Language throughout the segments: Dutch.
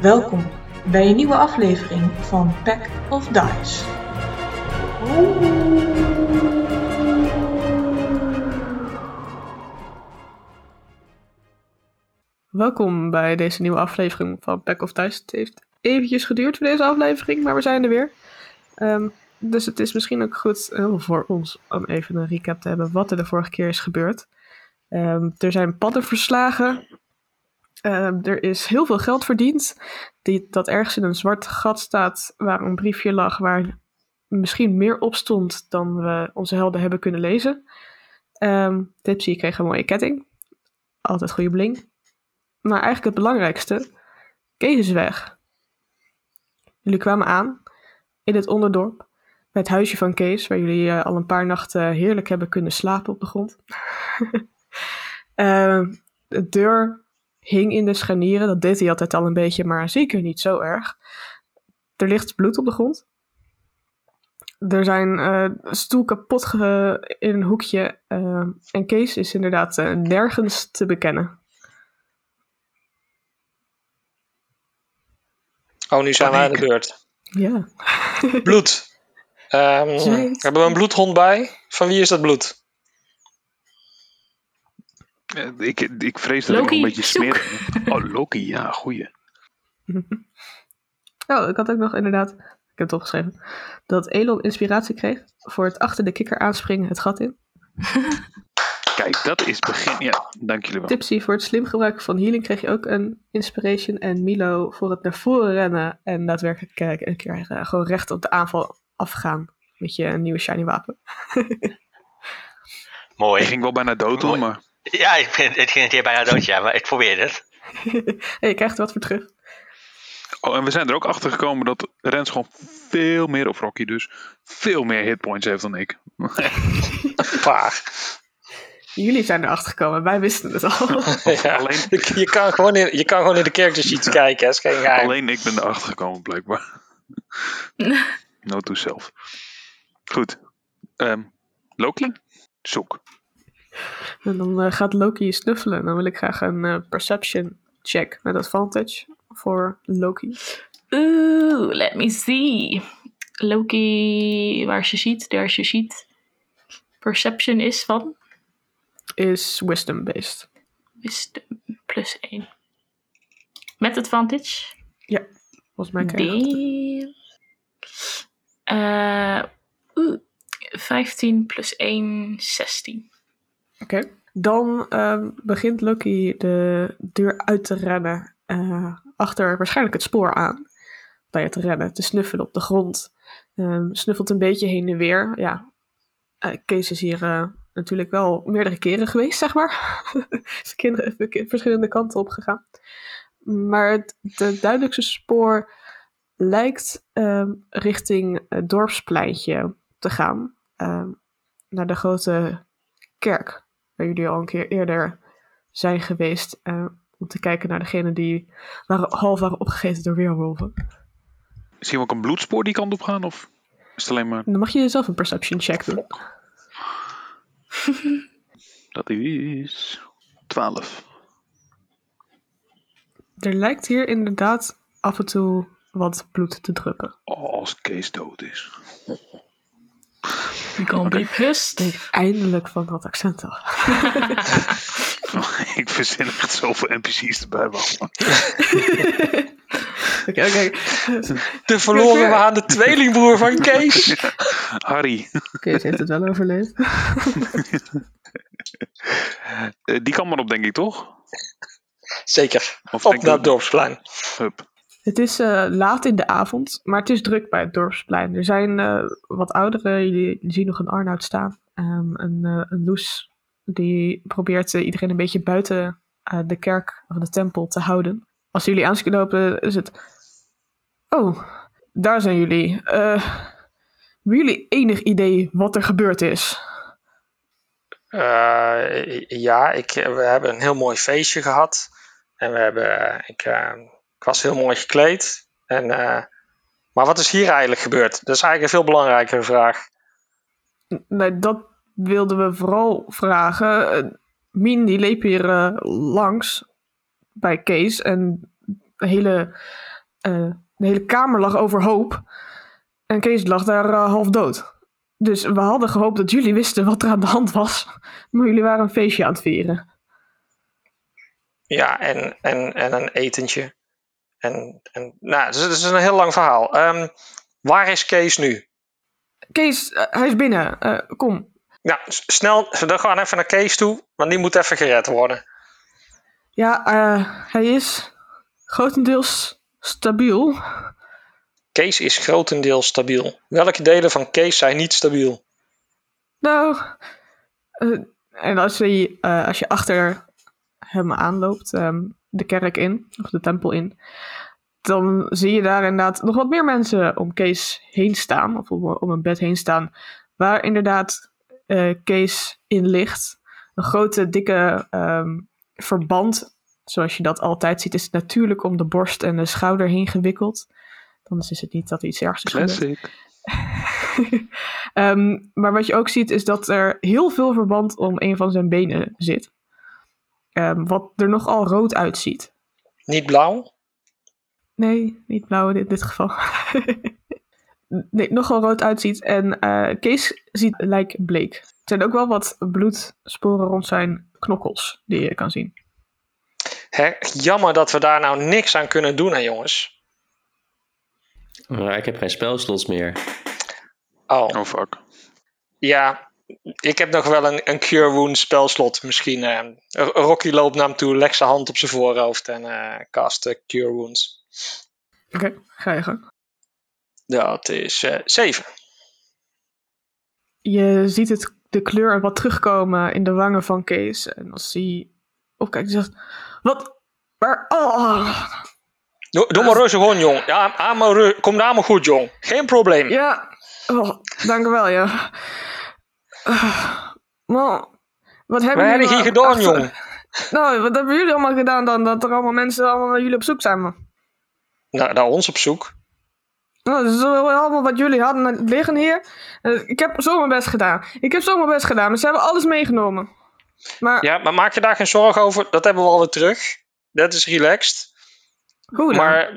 Welkom bij een nieuwe aflevering van Pack of Dice. Welkom bij deze nieuwe aflevering van Back of Dice. Het heeft eventjes geduurd voor deze aflevering, maar we zijn er weer. Ehm, dus het is misschien ook goed eh, voor ons om even een recap te hebben wat er de vorige keer is gebeurd. Ehm, er zijn padden verslagen. Ehm, er is heel veel geld verdiend. Die, dat ergens in een zwart gat staat waar een briefje lag waar misschien meer op stond dan we onze helden hebben kunnen lezen. Ehm Tipsy kreeg een mooie ketting. Altijd goede bling. Maar eigenlijk het belangrijkste. Kees is weg. Jullie kwamen aan in het onderdorp. Bij het huisje van Kees, waar jullie eh, al een paar nachten heerlijk hebben kunnen slapen op de grond. Eh, de deur hing in de scharnieren. Dat deed hij altijd al een beetje, maar zeker niet zo erg. Er ligt bloed op de grond. Er zijn eh, een stoel kapot ge- in een hoekje. eh, en Kees is inderdaad eh, nergens te bekennen. Oh, nu zijn wij aan de beurt. Ja. Bloed. Ehm, Zweet. hebben we een bloedhond bij? Van wie is dat bloed? Eh, Ik, ik vrees dat ik nog Loki, een beetje zoek. smerig ben. Oh, Loki, ja, goeie. Oh, ik had ook nog inderdaad, ik heb het opgeschreven, dat Elon inspiratie kreeg voor het achter de kikker aanspringen het gat in. Kijk, dat is begin. Ja, dank jullie wel. Tipsy voor het slim gebruiken van healing kreeg je ook een inspiration. En Milo voor het naar voren rennen en daadwerkelijk eh, een keer eh, gewoon recht op de aanval afgaan met je nieuwe shiny wapen. Ik Mooi. ging wel bijna dood hoor, Mooi. maar Ja, ik vind, het ging een keer bijna dood, ja, maar ik probeerde het. hey, je krijgt er wat voor terug. Oh, en we zijn er ook achter gekomen dat Rens gewoon veel meer, of Rocky dus, veel meer hitpoints heeft dan ik. Vaag. Jullie zijn erachter gekomen, wij wisten het al. Ja, alleen- je, je kan gewoon in, je kan gewoon in de character sheets kijken, hè, is geen geheim. Alleen ik ben erachter gekomen, blijkbaar. no to self. Goed. Ehm, Loki, zoek. en dan eh, gaat Loki je snuffelen. Dan wil ik graag een eh, perception check met advantage voor Loki. Oeh, let me see. Loki, waar is je sheet? Daar is je sheet. Perception is van Is wisdom based. wisdom plus 1. Met advantage. Volgens mij krijg je dat. Damn. Eh, oeh, 15 plus 1, 16. Oké. Dan ehm, begint Lucky de deur uit te rennen. eh, achter waarschijnlijk het spoor aan. Bij het rennen, te snuffelen op de grond. Ehm, snuffelt een beetje heen en weer. Ja. eh, Kees is hier eh, natuurlijk wel meerdere keren geweest, zeg maar. Zijn kinderen even ke- verschillende kanten op gegaan. Maar het de duidelijkste spoor lijkt ehm, richting het dorpspleintje te gaan. Ehm, naar de grote kerk waar jullie al een keer eerder zijn geweest. eh, om te kijken naar degenen die waren, half waren opgegeten door weerwolven. Zien we ook een bloedspoor die kant op gaan? Of is het alleen maar En dan mag je zelf een perception check doen. dat is 12? Er lijkt hier inderdaad af en toe wat bloed te druppen. Oh, als Kees dood is. You gonna be pissed. Eindelijk van dat accent af. ik verzin echt zoveel NPC's erbij. man. Oké, oké. De verloren we aan de tweelingbroer van Kees. Harry, Oké, ze heeft het wel overleefd. eh, die kan maar op, denk ik, toch? Zeker. Of Op denk naar je- het dorpsplein. Hup. Het is eh, laat in de avond, maar het is druk bij het dorpsplein. Er zijn eh, wat ouderen, jullie zien nog een Arnoud staan. Ehm, een, eh, een Loes, die probeert eh, iedereen een beetje buiten eh, de kerk of de tempel te houden. Als jullie aan zien lopen, is het... Oh, daar zijn jullie. Eh, hebben jullie enig idee wat er gebeurd is? Eh, ja, ik, we hebben een heel mooi feestje gehad. En we hebben, eh, ik, eh, ik was heel mooi gekleed. En, eh, maar wat is hier eigenlijk gebeurd? Dat is eigenlijk een veel belangrijkere vraag. N- Nee, dat wilden we vooral vragen. Eh, Mien, die leep hier eh, langs bij Kees en de hele, eh, de hele kamer lag overhoop. En Kees lag daar eh, half dood. Dus we hadden gehoopt dat jullie wisten wat er aan de hand was. Maar jullie waren een feestje aan het vieren. Ja, en, en, en een etentje. En, en, nou, het is, het is een heel lang verhaal. Ehm, waar is Kees nu? Kees, eh, hij is binnen. Eh, kom. Nou, s- snel, we gaan even naar Kees toe, want die moet even gered worden. Ja, eh, hij is grotendeels stabiel. Kees is grotendeels stabiel. Welke delen van Kees zijn niet stabiel? Nou, eh, en als je, eh, als je achter hem aanloopt, ehm, de kerk in, of de tempel in, dan zie je daar inderdaad nog wat meer mensen om Kees heen staan, of om, om een bed heen staan, waar inderdaad eh, Kees in ligt. Een grote, dikke ehm, verband, zoals je dat altijd ziet, is natuurlijk om de borst en de schouder heen gewikkeld. Anders is het niet dat er iets ergs is gebeurd. Classic. Ehm, maar wat je ook ziet is dat er heel veel verband om een van zijn benen zit. Ehm, wat er nogal rood uitziet. Niet blauw? Nee, niet blauw in dit, dit geval. nee, nogal rood uitziet. En eh, Kees ziet lijkbleek. Er zijn ook wel wat bloedsporen rond zijn knokkels die je kan zien. Hè, jammer dat we daar nou niks aan kunnen doen, hè, jongens. Maar ik heb geen spelslots meer. Oh, Oh fuck. ja. Ik heb nog wel een, een Cure Wound spelslot misschien. eh. R- Rocky loopt naar hem toe, legt zijn hand op zijn voorhoofd en eh, cast eh, Cure Wounds. Oké, ga je gang. Dat is eh 7. Je ziet het, de kleur wat terugkomen in de wangen van Kees. En als hij opkijkt, hij zegt... Wat? Waar? Oh, Doe, doe maar rustig gewoon, jong. Ja, aan maar ru- kom daar maar goed, jong. Geen probleem. Ja, oh, dank u wel, ja. Ah, Maar wat hebben jullie Wat heb je hier nou gedaan, achter- jong? Nou, wat hebben jullie allemaal gedaan dan? Dat er allemaal mensen allemaal naar jullie op zoek zijn, man. Nou, naar ons op zoek. Nou, dat is wel allemaal wat jullie hadden liggen hier. Eh, Ik heb zo mijn best gedaan. Ik heb zo mijn best gedaan, maar ze hebben alles meegenomen. Maar Ja, maar maak je daar geen zorgen over. Dat hebben we alweer terug. Dat is relaxed. hoe dan? Maar,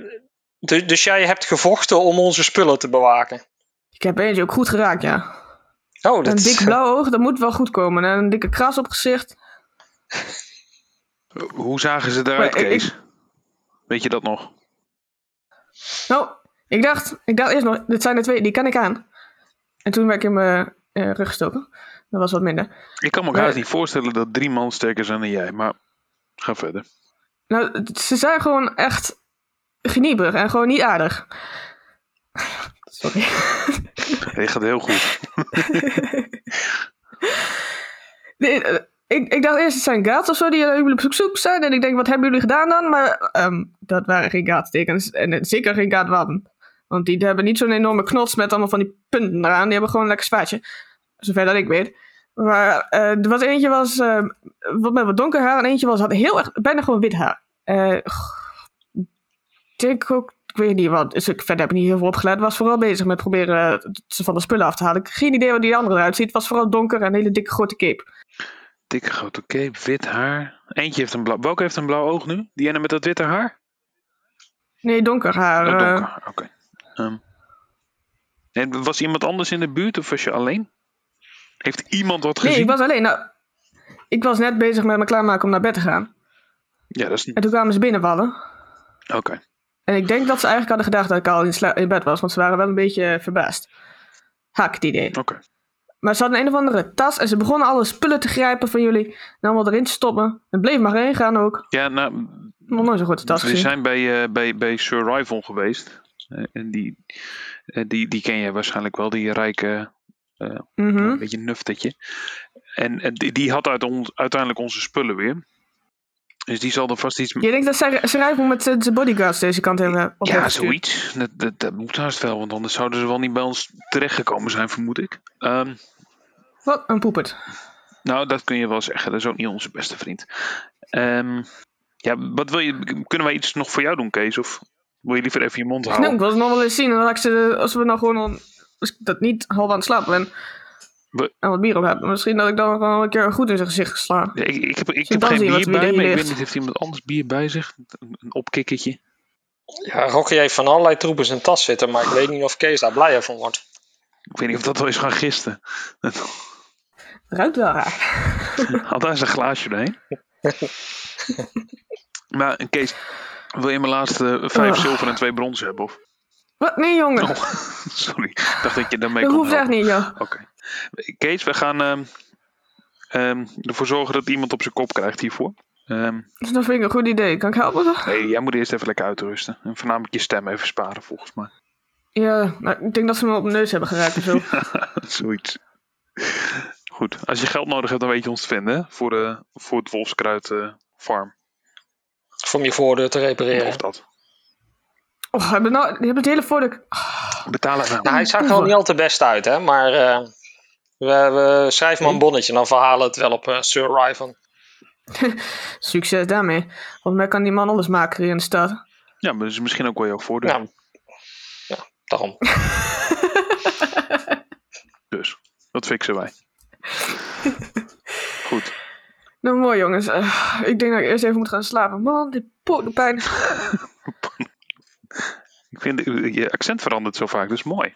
du- dus jij hebt gevochten om onze spullen te bewaken. Ik heb eentje ook goed geraakt, ja. Oh, dat Een dik is... blauw oog, dat moet wel goed komen. En een dikke kras op gezicht. Hoe zagen ze eruit, Maar ik- Kees? Weet je dat nog? Nou, ik dacht, ik dacht eerst nog, dit zijn er twee, die kan ik aan. En toen werd ik in mijn eh, rug gestoken. Dat was wat minder. Ik kan me ook Nee. haast niet voorstellen dat drie man sterker zijn dan jij, maar ga verder. Nou, het- ze zijn gewoon echt genieberig en gewoon niet aardig. Sorry. Het gaat heel goed. Nee, eh, ik, ik dacht eerst, het zijn gaats of zo die naar jullie op zoek- zoek zijn. En ik denk, wat hebben jullie gedaan dan? Maar ehm, dat waren geen gaattekens. En eh, zeker geen gaatwapen. Want die hebben niet zo'n enorme knots met allemaal van die punten eraan. Die hebben gewoon een lekker zwaardje. Zover dat ik weet. Maar eh, er was eentje was, ehm, wat met wat donker haar. En eentje was, had heel erg, bijna gewoon wit haar. Eh, g- ik denk ook, ik weet niet wat. Dus ik, verder heb ik niet heel veel opgelet. Was vooral bezig met proberen eh, ze van de spullen af te halen. Ik heb geen idee wat die andere eruit ziet. Het was vooral donker en een hele dikke grote cape. Dikke grote cape, wit haar. Eentje heeft een blauw... Welke heeft een blauw oog nu? Die ene met dat witte haar? Nee, donker haar. Oh, eh. donker, oké. Ehm. En was iemand anders in de buurt of was je alleen? Heeft iemand wat gezien? nee, ik was alleen. Nou, ik was net bezig met me klaarmaken om naar bed te gaan. Ja, dat is... En toen kwamen ze binnenvallen. Oké. En ik denk dat ze eigenlijk hadden gedacht dat ik al in, sla- in bed was, want ze waren wel een beetje eh, verbaasd. Hak het idee. Oké. Maar ze hadden een of andere tas en ze begonnen alle spullen te grijpen van jullie. En allemaal erin te stoppen. Het bleef maar heen gaan ook. Ja, nou, Nog nooit zo'n grote tas we gezien. zijn bij, eh, bij, bij Sir Rival geweest. Eh, en die, eh, die, die ken jij waarschijnlijk wel, die rijke, eh, Mhm. een beetje nuftertje. En, eh, die, die had uit ons, uiteindelijk onze spullen weer. Dus die zal er vast iets... Je denkt dat zij, ze rijden met eh, zijn bodyguards deze kant hebben op Ja, zoiets. Dat, dat, dat moet haast wel, want anders zouden ze wel niet bij ons terechtgekomen zijn, vermoed ik. Ehm, Wat een poepert. nou, dat kun je wel zeggen. Dat is ook niet onze beste vriend. Ehm, ja, wat wil je? Kunnen wij iets nog voor jou doen, Kees? Of wil je liever even je mond Nou, houden? ik wil ze nog wel eens zien. En dan had ik ze, als we nou gewoon on- als ik dat niet half aan het slapen ben. We- En wat bier op heb. Misschien dat ik dan gewoon een keer goed in zijn gezicht sla. Ja, ik, ik heb, ik Zullen heb we dan geen zien wat bier er weer bij in me. Ik ligt? weet niet, heeft iemand anders bier bij zich? Een, een opkikkertje? Ja, Rocky heeft van allerlei troepen in zijn tas zitten, maar ik weet niet of Kees daar blij van wordt. Ik weet niet of dat wel is gaan gisten. Ruikt wel raar. Had daar eens een glaasje doorheen. maar eh, Kees, wil je mijn laatste eh, vijf Oh. zilver en twee bronzen hebben? Of? Wat? Nee, jongen. Oh, sorry, ik dacht dat je daarmee dat kon hoeft echt helpen. niet, joh. Oké. Kees, we gaan ehm, ehm, ervoor zorgen dat iemand op zijn kop krijgt hiervoor. Ehm, Dus dat vind ik een goed idee. Kan ik helpen? Zo? nee, jij moet eerst even lekker uitrusten. En voornamelijk je stem even sparen, volgens mij. Ja, nou, ik denk dat ze me op mijn neus hebben geraakt of zo. Zoiets. Goed, als je geld nodig hebt, dan weet je ons te vinden. hè? Voor, de, voor het Wolfskruid eh, Farm. Om je voordeur te Of repareren. dat. Och, hebben nou, die hebben het hele voordeel. Betalen nou. Nou, hij zag er ook niet al te best uit, hè? Maar eh, we, we schrijven maar een bonnetje, dan verhalen we het wel op eh, Sir Riven. Succes daarmee. Volgens mij kan die man alles maken hier in de stad. Ja, maar dat is misschien ook wel jouw voordeel. Nou, ja, daarom. Dus, dat fixen wij. Goed. Nou, mooi jongens. Eh, ik denk dat ik eerst even moet gaan slapen. Man, dit poot doet pijn. Ik vind, eh, je accent verandert zo vaak, dus mooi.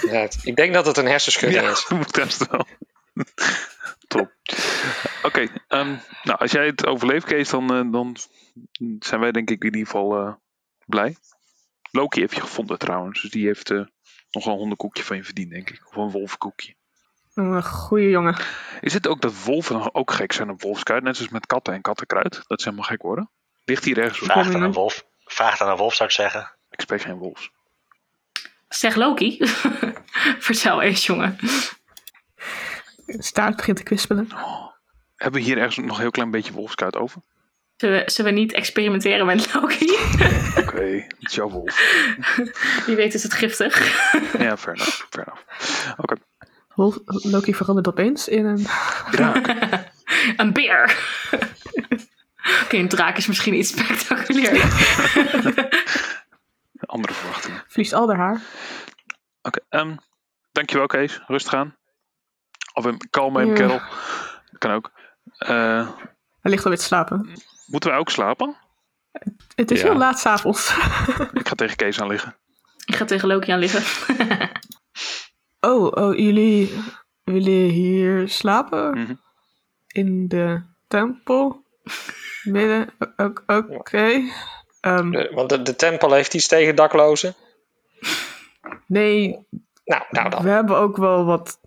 Ja, het- ik denk dat het een hersenschudding Ja, is. dat moet best wel. Top. Oké, ehm, nou, als jij het overleeft, Kees, dan, eh, dan zijn wij denk ik in ieder geval eh, blij. Loki heeft je gevonden trouwens, dus die heeft eh, nog een hondenkoekje van je verdiend, denk ik. Of een wolvenkoekje. Oh, goeie jongen. Is het ook dat wolven ook gek zijn op wolfskruid, net zoals met katten en kattenkruid? Dat ze helemaal gek worden? Ligt hier ergens op? Vraag kom je dan een nu? wolf. Vraag dan een wolf, zou ik zeggen. Ik spreek geen wolfs. Zeg Loki. Vertel eens, jongen. De staart begint te kwispelen. Hebben we hier ergens nog een heel klein beetje wolfskruid over? Zullen we, zullen we niet experimenteren met Loki? Oké, het is jouw wolf. Wie weet is het giftig. Ja, fair enough. Fair enough. Oké, Wolf- Loki verandert opeens in een... draak. Een beer. Oké, een draak is misschien iets spectaculair. Andere verwachtingen. Vliest al haar haar. Oké, ehm, dankjewel Kees. Rustig aan. Of een kalme en Ja. kerel. Kan ook. Eh, Hij ligt alweer te slapen. moeten wij ook slapen? Het is Ja. heel laat s'avonds. Ik ga tegen Kees aan liggen. Ik ga tegen Loki aan liggen. Oh, oh, jullie willen hier slapen? Mhm. In de tempel? Midden? O- o- Oké. Ehm, De- want de, de tempel heeft iets tegen daklozen. nee, Nou, nou we dan. hebben ook wel wat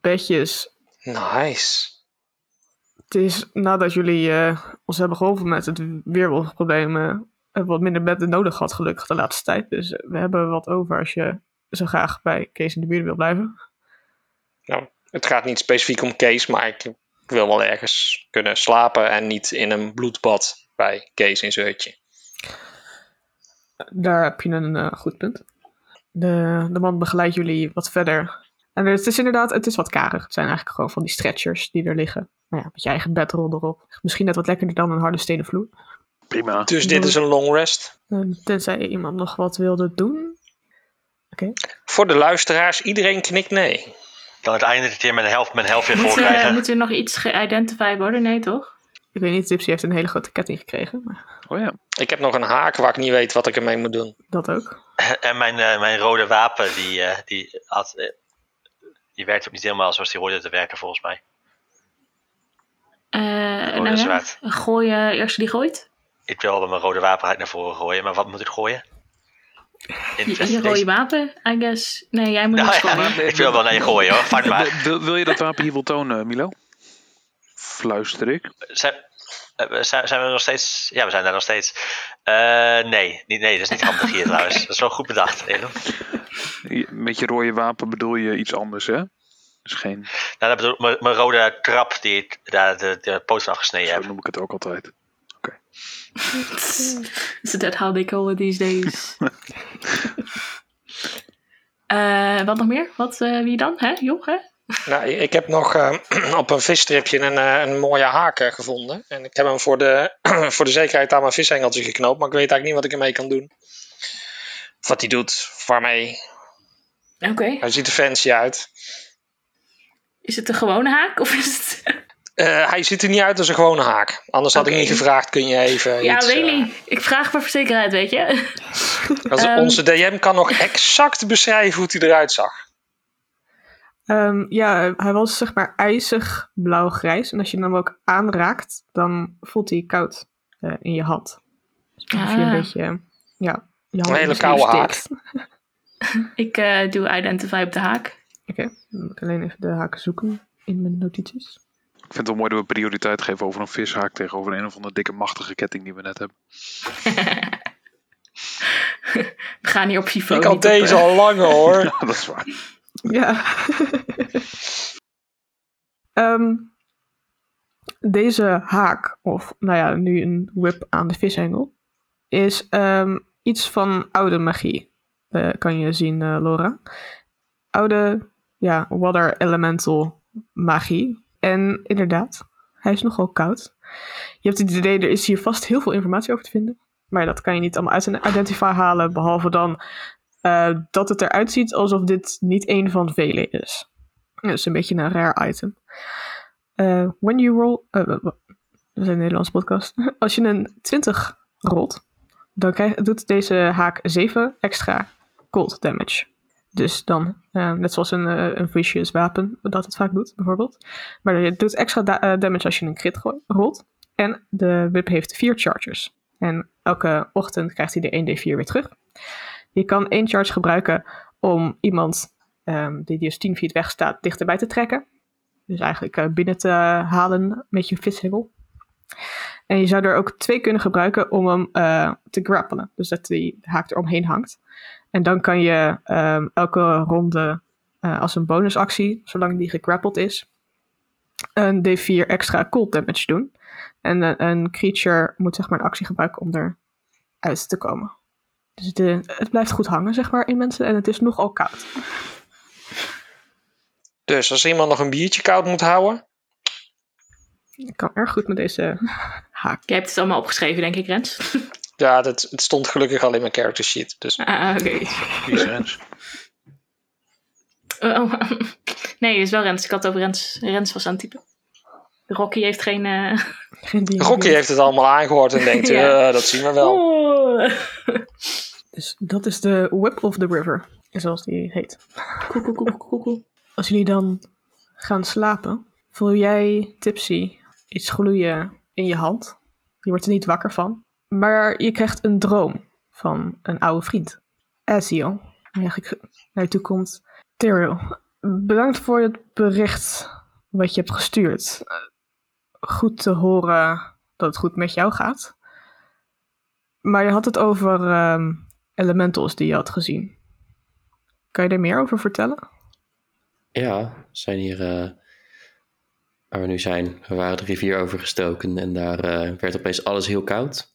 bedjes. Nice. Het is nadat jullie eh, ons hebben geholpen met het weerwolfprobleem... eh, hebben we wat minder bedden nodig gehad gelukkig de laatste tijd. Dus eh, we hebben wat over als je zo graag bij Kees in de buurt wil blijven. Het gaat niet specifiek om Kees, maar ik, ik wil wel ergens kunnen slapen en niet in een bloedbad bij Kees in zijn hutje. Daar heb je een eh, goed punt. De, de man begeleidt jullie wat verder. En het is inderdaad, het is wat karig. Het zijn eigenlijk gewoon van die stretchers die er liggen. Nou ja, met je eigen bedrol erop. Misschien net wat lekkerder dan een harde stenen vloer. Prima. Dus dit is een long rest. Eh, tenzij iemand nog wat wilde doen. Voor de luisteraars, iedereen knikt nee. Dan het einde dit keer mijn helft, mijn helft weer vol Moet, eh, krijgen. moet er nog iets geïdentified worden? Nee, toch? Ik weet niet, Tipsy heeft een hele grote ketting gekregen. Maar Oh ja. Ik heb nog een haak waar ik niet weet wat ik ermee moet doen. dat ook. En mijn, eh, mijn rode wapen, die, eh, die, had, eh, die werkt ook niet helemaal zoals die hoorde te werken, volgens mij. Eh nou Oh, dat is ja, waar. Gooi eh, eerst die gooit. Ik wil wel mijn rode wapen uit naar voren gooien, maar wat moet ik gooien? Je, je rode wapen, I guess. Nee, jij moet Nou niet ja, gooien. ik wil wel naar je gooien hoor, vang maar. Wil- Wil, wil je dat wapen hier wel tonen, Milo? Fluister ik. Zijn, eh, we- zijn, zijn we nog steeds? Ja, we zijn daar nog steeds. Eh, nee, niet, nee, dat is niet handig hier trouwens. Dat is wel goed bedacht. Elon. Je- Met je rode wapen bedoel je iets anders, hè? Dus geen... Nou, dat bedoel ik, mijn- mijn rode trap die ik daar de, de poot van afgesneden Zo heb. noem ik het ook altijd. Is that how they call it these days? Eh, wat nog meer? Wat, eh, wie dan? Hè? Job, hè? Nou, ik heb nog eh, op een visstripje een, eh, een mooie haak eh, gevonden. En ik heb hem voor de, voor de zekerheid aan mijn vishengeltje geknoopt. Maar ik weet eigenlijk niet wat ik ermee kan doen. Of Wat hij doet, waarmee. Oké. Hij ziet er fancy uit. Is het een gewone haak of is het... Eh, hij ziet er niet uit als een gewone haak. Anders had Oké. ik niet gevraagd, kun je even Ja, iets... weet eh, niet. Ik vraag maar voor zekerheid, weet je. als- Ehm. Onze DM kan nog exact beschrijven hoe hij eruit zag. Ehm, ja, hij was zeg maar ijzig blauw-grijs. En als je hem dan ook aanraakt, dan voelt hij koud eh, in je hand. Dus dan hoef je een Ah. beetje... Ja, je hand Een hele is koude dus haak. dicht. Ik eh, doe identify op de haak. Oké, dan moet ik alleen even de haak zoeken in mijn notities. Ik vind het wel mooi dat we prioriteit geven over een vishaak tegenover een of andere dikke machtige ketting die we net hebben. We gaan hier op FIFO. ik had niet op, deze eh, al langer hoor. Ja, dat is waar. Ja. Ehm, deze haak, of nou ja, nu een whip aan de vishengel, is ehm, iets van oude magie. eh, kan je zien, eh, Laura. Oude, ja, water elemental magie. En inderdaad, hij is nogal koud. Je hebt het idee, er is hier vast heel veel informatie over te vinden. Maar dat kan je niet allemaal uit een identifier halen, behalve dan eh, dat het eruit ziet alsof dit niet één van vele is. Dat is een beetje een raar item. Eh, when you roll. eh, w- w- we zijn een Nederlandse podcast. Als je een 20 rolt, dan krijg- doet deze haak 7 extra cold damage. Dus dan, eh, net zoals een, eh, een vicious wapen dat het vaak doet, bijvoorbeeld. Maar het doet extra da- eh, damage als je een crit gooi- rolt. En de whip heeft 4 charges. En elke ochtend krijgt hij de 1d4 weer terug. Je kan één charge gebruiken om iemand ehm, die dus 10 feet weg staat dichterbij te trekken. Dus eigenlijk eh, binnen te halen met je vishengel. En je zou er ook twee kunnen gebruiken om hem eh, te grappelen. Dus dat die haak er omheen hangt. En dan kan je ehm, elke ronde eh, als een bonusactie, zolang die gegrappeld is, een d4 extra cold damage doen. En eh, een creature moet zeg maar een actie gebruiken om eruit te komen. Dus de, het blijft goed hangen, zeg maar, in mensen. En het is nogal koud. Dus als iemand nog een biertje koud moet houden. Ik kan erg goed met deze haak. Jij hebt het allemaal opgeschreven, denk ik, Rens. Ja, dat, het stond gelukkig al in mijn character sheet. Dus Ah, oké. Wie is Oh, oh. nee, het is wel Rens. Ik had het over Rens. Rens was aan het typen. Rocky heeft geen... eh, Geen die- Rocky heeft het allemaal aangehoord en denkt, Ja. eh, dat zien we wel. Oh. Dus dat is de Whip of the River, zoals die heet. Koe, koe, koe, koe, koe. Als jullie dan gaan slapen, voel jij tipsy iets gloeien in je hand. Je wordt er niet wakker van. Maar je krijgt een droom van een oude vriend, Ezio, die eigenlijk naar je toe komt. Terrell, bedankt voor het bericht wat je hebt gestuurd. Eh, Goed te horen dat het goed met jou gaat. Maar je had het over ehm, elementals die je had gezien. Kan je daar meer over vertellen? Ja, we zijn hier eh, waar we nu zijn. We waren de rivier overgestoken en daar eh, werd opeens alles heel koud.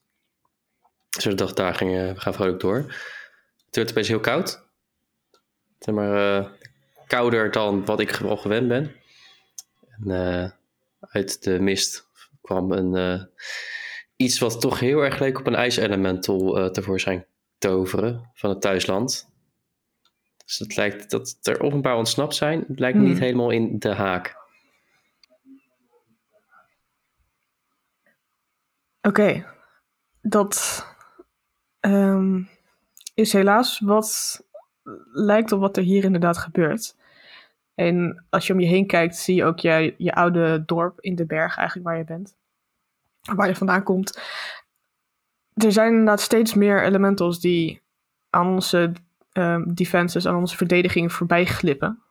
Dus we dachten, daar gingen we gaan vrolijk door. Het werd opeens heel koud. Zeg maar eh, kouder dan wat ik al gewend ben. En eh, uit de mist kwam een, eh, iets wat toch heel erg leek op een ijselemental eh, tevoorschijn toveren van het thuisland. Dus het lijkt dat er op een paar ontsnapt zijn. Het lijkt me Hmm. niet helemaal in de haak. Oké, dat ehm, is helaas wat lijkt op wat er hier inderdaad gebeurt. En als je om je heen kijkt, zie je ook je, je oude dorp in de berg eigenlijk waar je bent. Waar je vandaan komt. Er zijn inderdaad steeds meer elementals die aan onze ehm, defenses, aan onze verdediging voorbij glippen.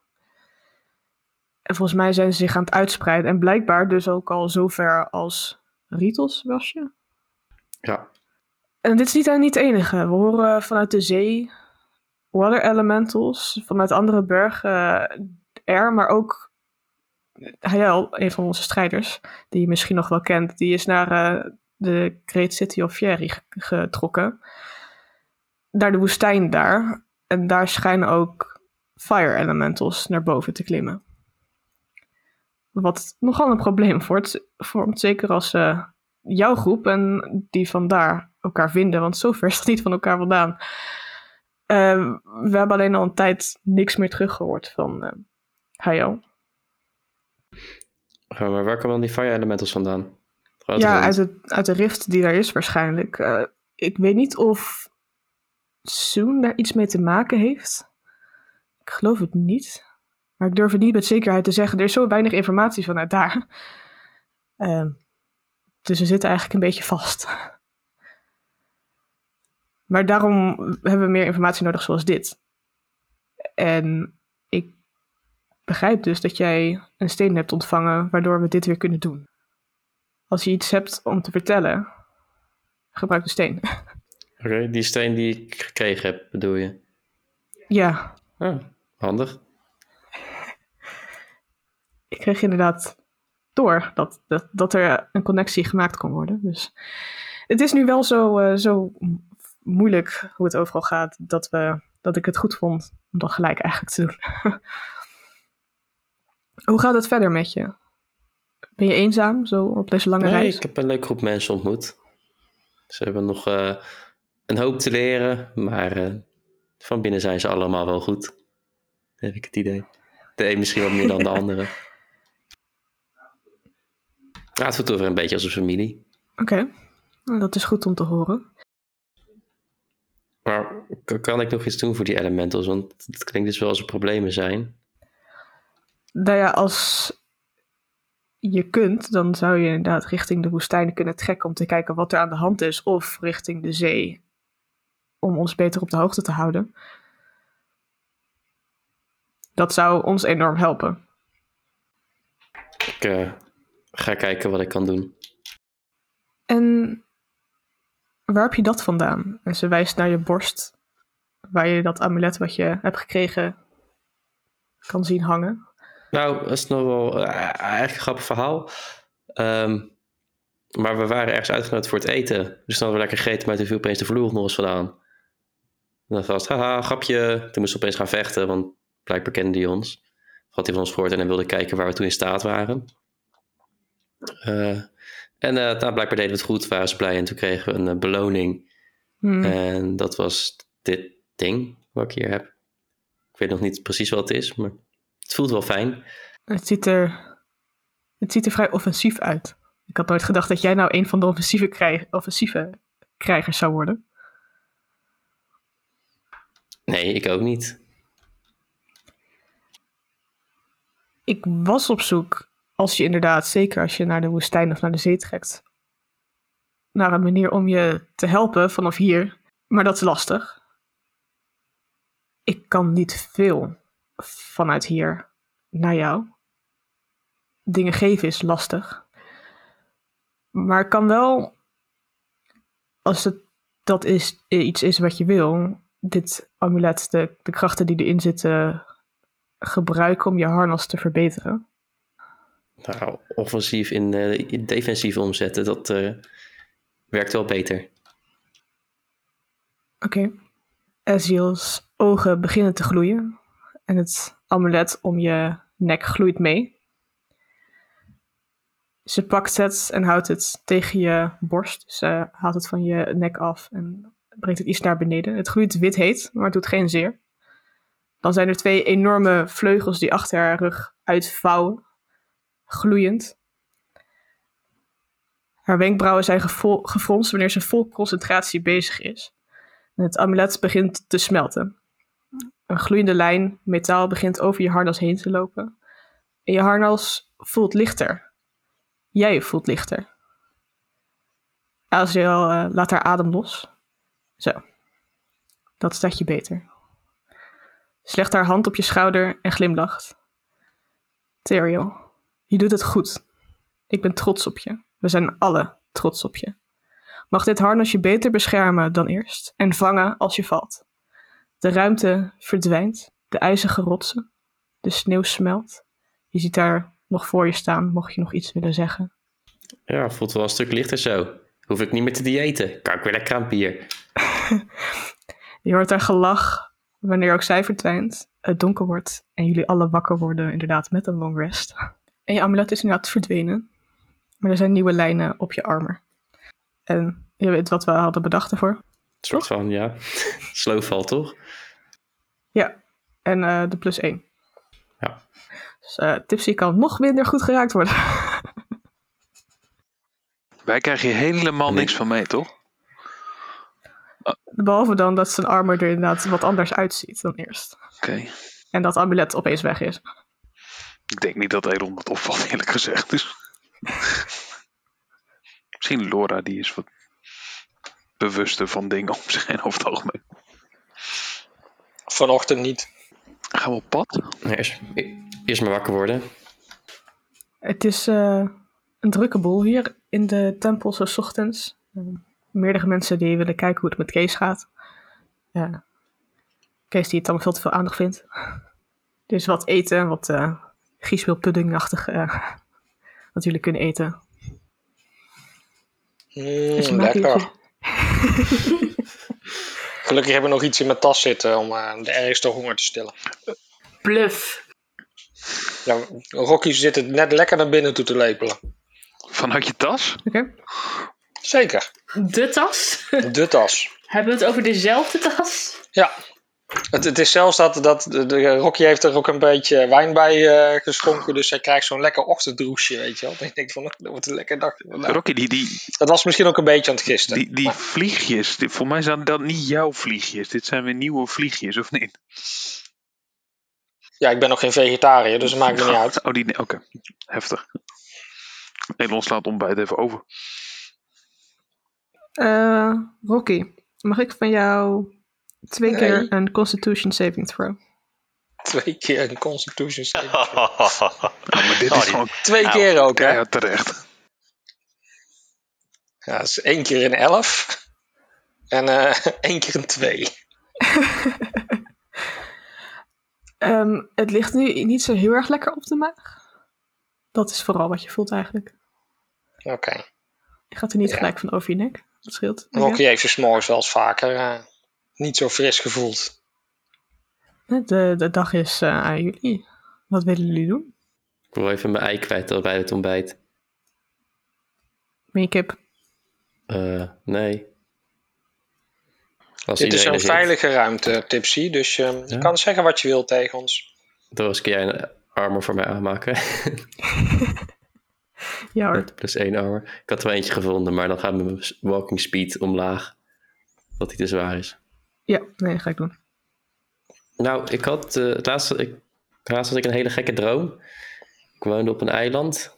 En volgens mij zijn ze zich aan het uitspreiden. En blijkbaar dus ook al zover als Ritos was je. Ja, En dit is niet, eh, niet het enige. We horen vanuit de zee water elementals, vanuit andere bergen er, maar ook Hayel, een van onze strijders, die je misschien nog wel kent, die is naar eh, de Great City of Fieri ge- getrokken. Naar de woestijn daar. En daar schijnen ook fire elementals naar boven te klimmen. Wat nogal een probleem vormt, vormt zeker als eh, ze jouw groep en die vandaar elkaar vinden, want zo ver is het niet van elkaar vandaan. Eh, we hebben alleen al een tijd niks meer teruggehoord van eh Hayo. Gewoon, maar waar komen dan die fire elementals vandaan? Grote ja, hand. uit, het, uit de rift die daar is waarschijnlijk. Eh, ik weet niet of Soon daar iets mee te maken heeft. Ik geloof het niet. Maar ik durf het niet met zekerheid te zeggen. Er is zo weinig informatie vanuit daar. Ehm, dus we zitten eigenlijk een beetje vast. Maar daarom hebben we meer informatie nodig zoals dit. En ik begrijp dus dat jij een steen hebt ontvangen waardoor we dit weer kunnen doen. Als je iets hebt om te vertellen, gebruik de steen. Oké, die steen die ik gekregen heb, bedoel je? ja, Ah, handig. ik kreeg inderdaad door dat, dat, dat er een connectie gemaakt kon worden. Dus het is nu wel zo, eh, zo moeilijk hoe het overal gaat, dat, we, dat ik het goed vond om dat gelijk eigenlijk te doen. hoe gaat het verder met je? Ben je eenzaam zo op deze lange Nee, reis? ik heb een leuke groep mensen ontmoet. Ze hebben nog eh, een hoop te leren, maar eh, van binnen zijn ze allemaal wel goed. Heb ik het idee. De een misschien wat meer dan de andere. Ja, het voelt over een beetje als een familie. Oké, Nou, dat is goed om te horen. Maar k- kan ik nog iets doen voor die elementals? Want het klinkt dus wel als er problemen zijn. Nou ja, als je kunt, dan zou je inderdaad richting de woestijnen kunnen trekken om te kijken wat er aan de hand is. Of richting de zee, om ons beter op de hoogte te houden. Dat zou ons enorm helpen. Ik eh, ga kijken wat ik kan doen. En waar heb je dat vandaan? En ze wijst naar je borst, waar je dat amulet wat je hebt gekregen kan zien hangen. Nou, dat is nog wel eh, eigenlijk een grappig verhaal. Ehm, maar we waren ergens uitgenodigd voor het eten. Dus dan hadden we lekker gegeten, maar toen viel opeens de vloer onder ons vandaan. En dan was het, haha, grapje. Toen moesten we opeens gaan vechten, want blijkbaar kende hij ons. Of had hij van ons gehoord en hij wilde kijken waar we toen in staat waren. Eh, en eh, nou, blijkbaar deden we het goed, waren ze blij. En toen kregen we een eh, beloning. Hmm. En dat was dit ding wat ik hier heb. Ik weet nog niet precies wat het is, maar het voelt wel fijn. Het ziet er, het ziet er vrij offensief uit. Ik had nooit gedacht dat jij nou een van de offensieve, krij- offensieve krijgers zou worden. Nee, ik ook niet. Ik was op zoek, als je inderdaad, zeker als je naar de woestijn of naar de zee trekt, naar een manier om je te helpen vanaf hier. Maar dat is lastig. Ik kan niet veel vanuit hier naar jou. Dingen geven is lastig. Maar ik kan wel, als het dat is, iets is wat je wil, dit amulet, de, de krachten die erin zitten, gebruiken om je harnas te verbeteren. Nou, offensief in, eh, in defensief omzetten, dat eh, werkt wel beter. Oké. Ezreal's ogen beginnen te gloeien. En het amulet om je nek gloeit mee. Ze pakt het en houdt het tegen je borst. Ze haalt het van je nek af en brengt het iets naar beneden. Het gloeit wit heet, maar het doet geen zeer. Dan zijn er twee enorme vleugels die achter haar rug uitvouwen. Gloeiend. Haar wenkbrauwen zijn gevo- gefronst wanneer ze vol concentratie bezig is. En het amulet begint te smelten. Een gloeiende lijn metaal begint over je harnas heen te lopen. En je harnas voelt lichter. Jij voelt lichter. Aziel eh, laat haar adem los. Zo. Dat staat je beter. Ze legt haar hand op je schouder en glimlacht. Theriel, je doet het goed. Ik ben trots op je. We zijn alle trots op je mag dit harnas je beter beschermen dan eerst en vangen als je valt. De ruimte verdwijnt, de ijzige rotsen, de sneeuw smelt. Je ziet daar nog voor je staan, mocht je nog iets willen zeggen. Ja, voelt wel een stuk lichter zo. Hoef ik niet meer te diëten. Kan ik weer lekker aan bier. Je hoort haar gelach wanneer ook zij verdwijnt, het donker wordt en jullie alle wakker worden, inderdaad met een long rest. En je amulet is inderdaad verdwenen, maar er zijn nieuwe lijnen op je armen. En je weet wat we hadden bedacht ervoor. Een soort van, ja, slowval toch? Ja, en eh, de plus 1. Ja. Dus eh, Tipsy kan nog minder goed geraakt worden. Wij krijgen hier helemaal Nee. niks van mee, toch? Behalve dan dat zijn armor er inderdaad wat anders uitziet dan eerst. Oké. En dat amulet opeens weg is. Ik denk niet dat Elon dat opvalt, eerlijk gezegd. Dus... Misschien Laura, die is wat bewuster van dingen om zich heen over het algemeen. Vanochtend niet. Gaan we op pad? Nou, eerst, eerst maar wakker worden. Het is eh, een drukke boel hier in de tempel zo 's ochtends. Eh, meerdere mensen die willen kijken hoe het met Kees gaat. Ja. Kees die het allemaal veel te veel aandacht vindt. Dus wat eten, wat eh griesmeelpuddingachtig eh, wat jullie kunnen eten. Is Mm, een lekker. makkelijkje. Gelukkig hebben we nog iets in mijn tas zitten om eh, de ergste honger te stillen. Bluff. Ja, Rocky zit het net lekker naar binnen toe te lepelen. Vanuit je tas? Oké. Zeker. De tas. De tas. Hebben we het over dezelfde tas? Ja. Het, het is zelfs dat, dat de, de- Rocky heeft er ook een beetje wijn bij eh, geschonken. Dus hij krijgt zo'n lekker ochtenddroesje, weet je wel. Dan denk ik van, oh, dat wordt een lekker dag. vandaag. Rocky, die, die, Dat was misschien ook een beetje aan het gisteren. die, die vliegjes, die- voor mij zijn dat niet jouw vliegjes. Dit zijn weer nieuwe vliegjes, of niet? Ja, ik ben nog geen vegetariër, dus dat maakt me niet uit. Oh, die, oké. Heftig. Elon slaat ontbijt even over. Eh, Rocky, mag ik van jou twee Nee. keer een Constitution Saving Throw? Twee keer een Constitution save. Nou, maar dit Oh, is die- gewoon Twee Au. keer ook, hè? Nou, Ja, keihard terecht. dat is één keer een elf. En eh, één keer een twee. Ehm, het ligt nu niet zo heel erg lekker op de maag. Dat is vooral wat je voelt eigenlijk. Oké. Je gaat er niet Ja. gelijk van over je nek. Dat scheelt. denk ik. Rocky heeft zich 's morgens wel eens vaker eh, niet zo fris gevoeld. De, de dag is eh, aan jullie. Wat willen jullie doen? Ik wil even mijn ei kwijt al bij het ontbijt. Make-up. Eh, nee. Als Dit is iedereen een er zit, veilige ruimte, Tipsy. Dus eh, je Ja. kan zeggen wat je wil tegen ons. Doris, kun jij een armor voor mij aanmaken? Ja hoor. Plus één armor. Ik had er wel eentje gevonden, maar dan gaat mijn walking speed omlaag. Wat die te zwaar is. Ja, nee, dat ga ik doen. Nou, ik had, eh, het laatste, ik, laatst had ik een hele gekke droom. Ik woonde op een eiland.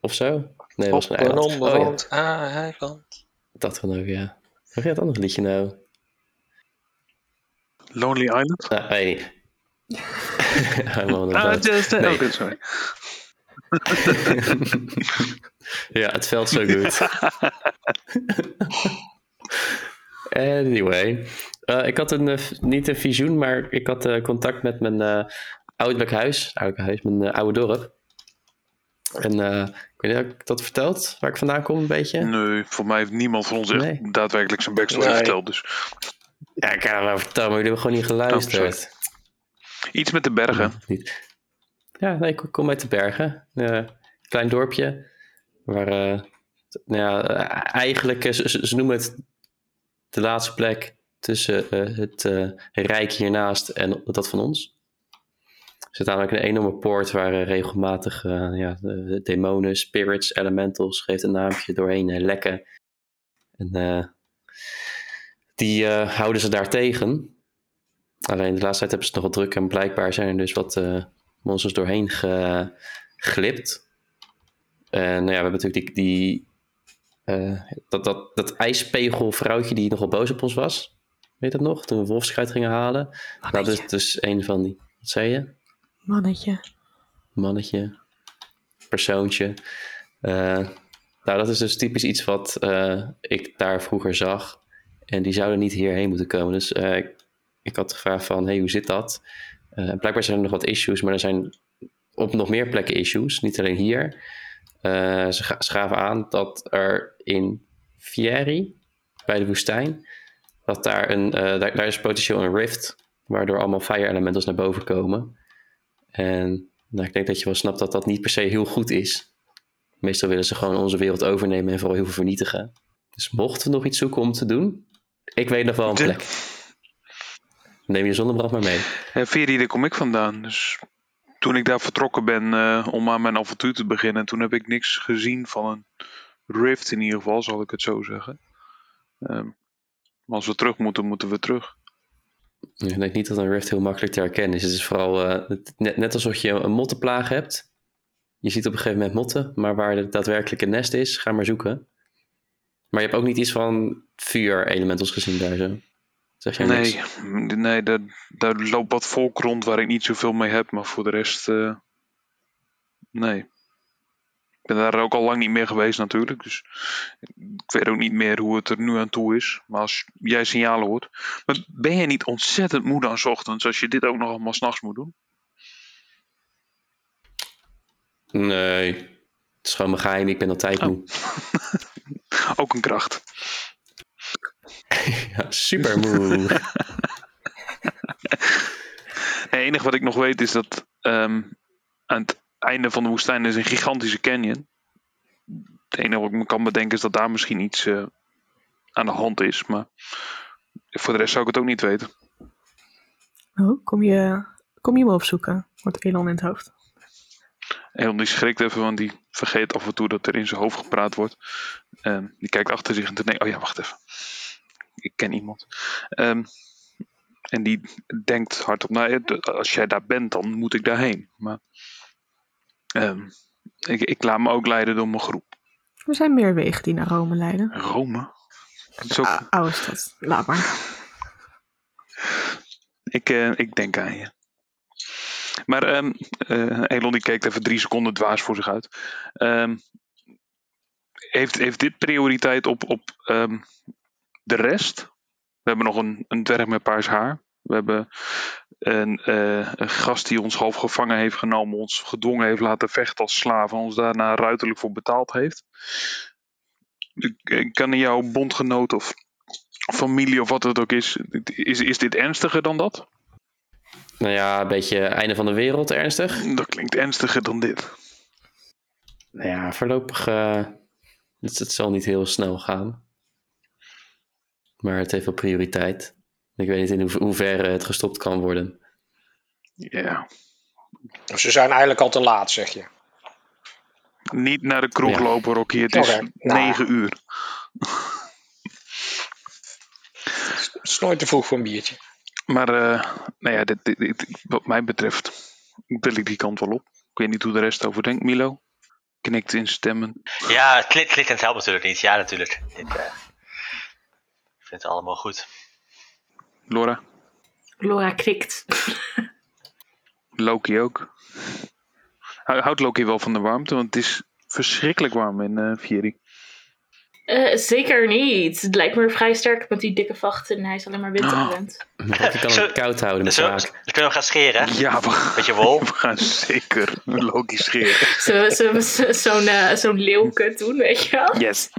Of zo? Nee, het Op was een een Ah, eiland. oh, ja, onbewoond eiland. dat van ook, ja. Hoe ging dat andere liedje nou? Lonely Island? Nou, weet ik niet. I'm on a Ah, boat. just- Nee. oké, sorry. ja, het felt zo goed. anyway. Eh, ik had een, eh, v- niet een visioen, maar ik had eh, contact met mijn eh ouderlijk huis. Ouderlijk huis, mijn eh, oude dorp. En eh, ik weet niet, heb ik dat verteld? Waar ik vandaan kom, een beetje? Nee, voor mij heeft niemand van ons echt Nee. daadwerkelijk zijn backstory Nee. verteld. Dus Ja, ik kan het wel vertellen, maar jullie hebben gewoon niet Oh, geluisterd. iets met de bergen. Niet. Ja, nee, ik kom uit de bergen. Eh, klein dorpje. Waar, eh, t- nou ja, eh, eigenlijk, eh, ze, ze- ze noemen het de laatste plek tussen eh, het eh, rijk hiernaast en dat van ons. Er zit namelijk een enorme poort waar eh, regelmatig eh, ja, de demonen, spirits, elementals, geeft een naamje doorheen eh, lekken. En eh, die eh, houden ze daar tegen. Alleen de laatste tijd hebben ze het nogal druk en blijkbaar zijn er dus wat eh, monsters doorheen ge- glipt. En nou ja, we hebben natuurlijk die, die, eh, dat, dat, dat ijspegelvrouwtje die nogal boos op ons was. Weet je dat nog? Toen we wolfschuit gingen halen. Nou, dat Mannetje. is dus een van die. Wat zei je? Mannetje. mannetje, persoontje. Eh, nou, dat is dus typisch iets wat eh, ik daar vroeger zag. En die zouden niet hierheen moeten komen. Dus eh, ik- ik had gevraagd van, hey, hoe zit dat? Eh, blijkbaar zijn er nog wat issues, maar er zijn op nog meer plekken issues. Niet alleen hier. Eh, ze ga- ze gaven aan dat er in Fieri, bij de woestijn, dat daar, een, eh, daar, daar is potentieel een rift, waardoor allemaal fire elementals naar boven komen. En nou, ik denk dat je wel snapt dat dat niet per se heel goed is. Meestal willen ze gewoon onze wereld overnemen en vooral heel veel vernietigen. Dus mochten we nog iets zoeken om te doen, ik weet nog wel een De- plek. Neem je zonnebrand maar mee. Eh, Veri, daar kom ik vandaan. Dus toen ik daar vertrokken ben eh, om aan mijn avontuur te beginnen, toen heb ik niks gezien van een rift in ieder geval, zal ik het zo zeggen. Ehm, maar als we terug moeten, moeten we terug. Ik denk niet dat een rift heel makkelijk te herkennen is. Het is vooral eh, het- net, net alsof je een mottenplaag hebt. Je ziet op een gegeven moment motten, maar waar het daadwerkelijke nest is, ga maar zoeken. Maar je hebt ook niet iets van vuur-elementals gezien daar zo. Zeg jij niks? Nee, nee daar, daar loopt wat volk rond waar ik niet zoveel mee heb, maar voor de rest. eh, nee. Ik ben daar ook al lang niet meer geweest natuurlijk, dus ik weet ook niet meer hoe het er nu aan toe is. Maar als jij signalen hoort. Maar ben je niet ontzettend moe dan 's ochtends als je dit ook nog allemaal s'nachts moet doen? Nee. Het is gewoon mijn geheim, ik ben altijd moe. Ook een kracht. Ja, super moe. Het enige wat ik nog weet is dat ehm, aan het einde van de woestijn is een gigantische canyon. Het enige wat ik me kan bedenken is dat daar misschien iets eh, aan de hand is. Maar voor de rest zou ik het ook niet weten. Oh, kom je, kom je me opzoeken? Wordt Elon in het hoofd. Elon die schrikt even, want die vergeet af en toe dat er in zijn hoofd gepraat wordt. Ehm, die kijkt achter zich en denkt, nee, oh ja, wacht even. Ik ken iemand. Ehm, en die denkt hardop, nou, ja, d- als jij daar bent, dan moet ik daarheen. Maar ehm, ik, ik laat me ook leiden door mijn groep. Er zijn meer wegen die naar Rome leiden. Rome? Dat is ook- Ah, oude stad, laat maar. ik, eh, ik denk aan je. Maar ehm, eh, Elon die keek even drie seconden dwaas voor zich uit. Ehm, heeft, heeft dit prioriteit op, op ehm, de rest? We hebben nog een, een dwerg met paars haar. We hebben een, eh, een gast die ons half gevangen heeft genomen, ons gedwongen heeft laten vechten als slaven, ons daarna ruiterlijk voor betaald heeft. Ik- ik Kan jouw bondgenoot of familie of wat het ook is, is, is dit ernstiger dan dat? nou ja, een beetje einde van de wereld ernstig. Dat klinkt ernstiger dan dit. Nou ja, voorlopig. eh, het, het zal niet heel snel gaan. Maar het heeft wel prioriteit. Ik weet niet in hoe hoeverre het gestopt kan worden. Ja. Ze zijn eigenlijk al te laat, zeg je. Niet naar de kroeg Ja. lopen, Rocky. Het is Oké, nou. negen uur. Het is nooit te vroeg voor een biertje. Maar eh, nou ja, dit, dit- dit- wat mij betreft wil ik die kant wel op. Ik weet niet hoe de rest over denkt, Milo. Knikt in stemmen. Ja, klik, klik en het helpt natuurlijk niet. Ja, natuurlijk. Dit, eh, ik vind het allemaal goed. Laura, Laura krikt. Loki ook. Hou- Houdt Loki wel van de warmte? Want het is verschrikkelijk warm in eh Vieri. Eh, zeker niet. Het lijkt me vrij sterk met die dikke vacht en hij is alleen maar winter Oh. gewend. Maar ik kan Zo- het koud houden met Zo, dan zaak. kunnen we hem gaan scheren. hè? Ja, we gaan, Beetje wol. we gaan zeker Loki scheren. Zullen we- zullen we zo- Zo'n eh, zo'n leeuwkut doen, weet je wel? Yes.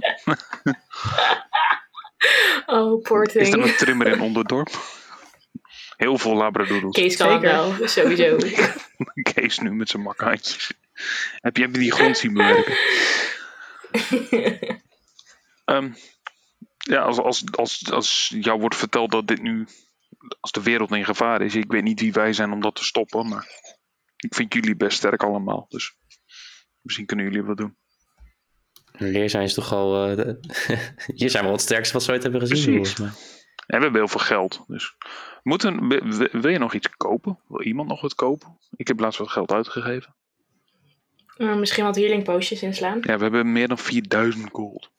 Oh, poor Is er thing. een trimmer in Onderdorp? Heel veel labradoodles. Kees kan Zeker. wel, sowieso. Kees nu met zijn makhaantjes. Heb je, heb je die grond zien bewerken? Ehm, ja, als, als, als, als jou wordt verteld dat dit nu... Als de wereld in gevaar is. Ik weet niet wie wij zijn om dat te stoppen. Maar ik vind jullie best sterk allemaal. Dus misschien kunnen jullie wat doen. Leer zijn is toch al. eh, de- hier zijn we al het sterkste wat we ooit hebben gezien. Precies. volgens mij. En we hebben heel veel geld. Dus moeten, wi- wi- wil je nog iets kopen? Wil iemand nog wat kopen? Ik heb laatst wat geld uitgegeven. Eh, misschien wat healingpoosjes inslaan. Ja, we hebben meer dan 4000 gold.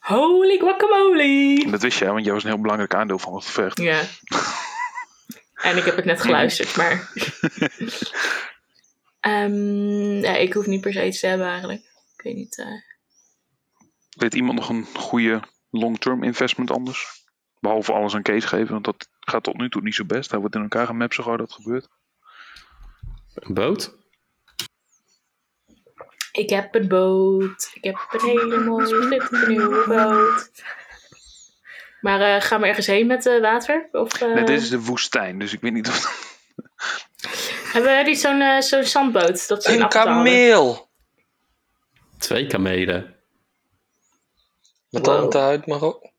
Holy guacamole! Dat wist jij, want jij was een heel belangrijk aandeel van het gevecht. Ja. En ik heb het net geluisterd, maar... Ehm, ja, ik hoef niet per se iets te hebben eigenlijk. Ik weet niet. eh. Weet iemand nog een goede long-term investment anders? Behalve alles aan Kees geven, want dat gaat tot nu toe niet zo best. Hij wordt in elkaar gemapt zo gauw dat gebeurt. Een boot? Ik heb een boot. Ik heb een hele mooie nieuwe boot. Maar eh, gaan we ergens heen met eh, water? Of, eh, Nee, dit is de woestijn, dus ik weet niet of... Hebben we niet zo'n eh, zo'n zandboot? Dat ze in Een achter hadden? kameel! Twee kamelen. Met Wow. tanden uit, maar ook.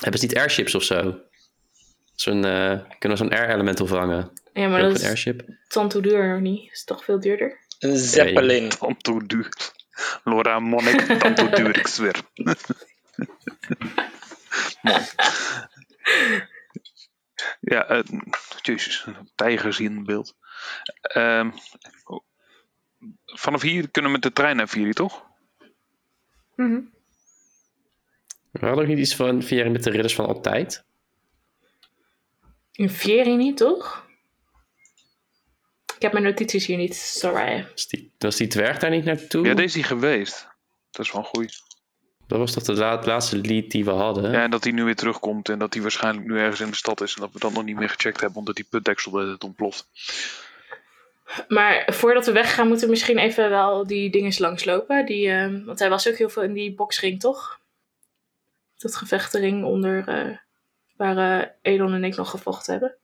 Hebben ze niet airships of zo? Zo'n, eh, kunnen we zo'n air-elemental vangen? Ja, maar Maar dat een is airship? tand hoe duur nog niet. Dat is toch veel duurder. Een zeppelin. Tanto duur. Laura Monnik, tanto duur, ik zweer. Mooi. Ja, eh, jezus, tijgers hier in beeld. Ehm, vanaf hier kunnen we met de trein naar Viri, toch? Mhm. We hadden ook niet iets van via met de ridders van altijd. Een Vieri niet, toch? Ik heb mijn notities hier niet. Sorry. Was die, was die dwerg daar niet naartoe? Ja, deze is die geweest. Dat is wel een goeie. Dat was toch de la- laatste lead die we hadden? Ja, en dat hij nu weer terugkomt en dat hij waarschijnlijk nu ergens in de stad is en dat we dat nog niet meer gecheckt hebben omdat die putdeksel het ontploft. Maar voordat we weggaan, moeten we misschien even wel die dinges langslopen. Die, ehm, want hij was ook heel veel in die boksring, toch? Dat gevechtering onder eh, waar eh, Elon en ik nog gevochten hebben.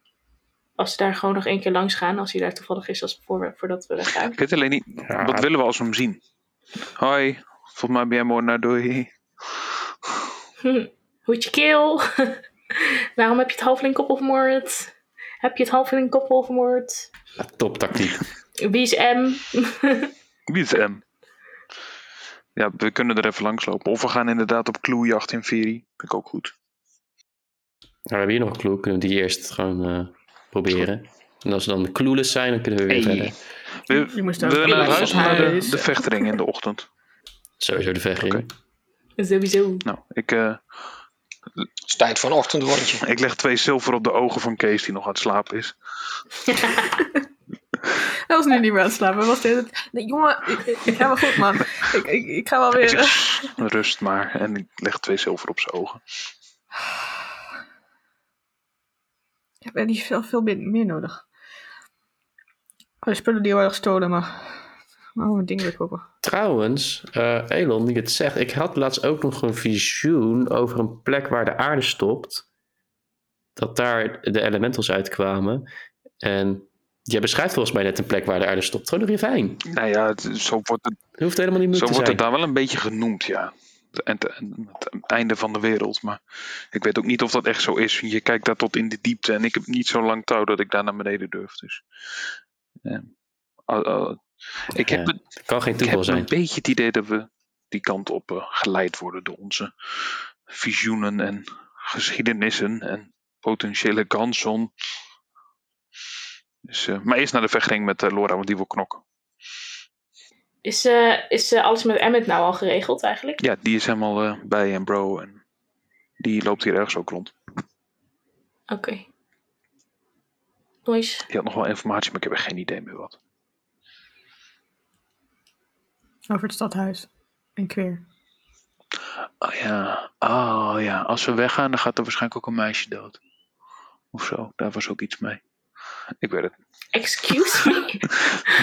Als we daar gewoon nog één keer langs gaan, als hij daar toevallig is als voor, voordat we weggaan. Ik weet alleen niet, Ja. wat willen we als we hem zien? Hoi, volgens mij ben jij moordenaar, doei. Hoedje keel! Waarom heb je het halfling koppel vermoord? Heb je het halfling koppel vermoord? Ja, top tactiek. Wie is M? Wie is M? Ja, we kunnen er even langslopen. Of we gaan inderdaad op cluejacht in Veri. Vind ik ook goed. Nou, we hebben hier nog een clue. Kunnen we die eerst gewoon eh, proberen? En als we dan clueless zijn, dan kunnen we weer Hey. verder. We, Je moest we ook willen naar het eerst huis op of naar de, huis. de vechtering in de ochtend? Sowieso de vechtering. Oké. Sowieso. Nou, ik, eh, Het is tijd voor een ochtendrondje. ik leg twee zilver op de ogen van Kees die nog aan het slapen is. Hij was nu niet meer aan het slapen. Hij was de hele tijd, nee, jongen, ik, ik- ik ga wel goed, man. Ik, ik, ik ga wel Hij weer... eh, zegt, Rust maar. En ik leg twee zilver op zijn ogen. Ik heb er niet veel, veel meer- meer nodig. Oh, de spullen die waren gestolen, maar... Oh, mijn ding weer kopen. Trouwens, eh, Elon die het zegt, ik had laatst ook nog een visioen over een plek waar de aarde stopt. Dat daar de elementals uitkwamen. En jij beschrijft volgens mij net een plek waar de aarde stopt. Gewoon een ravijn. Nou ja, het- zo wordt het, Dat hoeft helemaal niet zo moeilijk te wordt het zijn. daar wel een beetje genoemd, ja. En te- en het, het einde van de wereld. Maar ik weet ook niet of dat echt zo is. Je kijkt daar tot in de diepte. En ik heb niet zo lang touw dat ik daar naar beneden durf. Dus. eh, al- al- ik heb, Ja, het- Het kan geen ik heb toeval een zijn. beetje het idee dat we die kant op eh, geleid worden door onze visioenen en geschiedenissen en potentiële kansen. Dus, eh, maar eerst naar de vechtering met eh, Laura, want die wil knokken. Is, eh, is eh, alles met Emmet nou al geregeld eigenlijk? Ja, die is helemaal eh, bij en bro. En die loopt hier ergens ook rond. Oké. Nice. Die had nog wel informatie, maar ik heb echt geen idee meer wat. Over het stadhuis. En queer. Oh ja, oh ja. Als we weggaan, dan gaat er waarschijnlijk ook een meisje dood. Of zo, daar was ook iets mee. Ik weet het. Excuse me?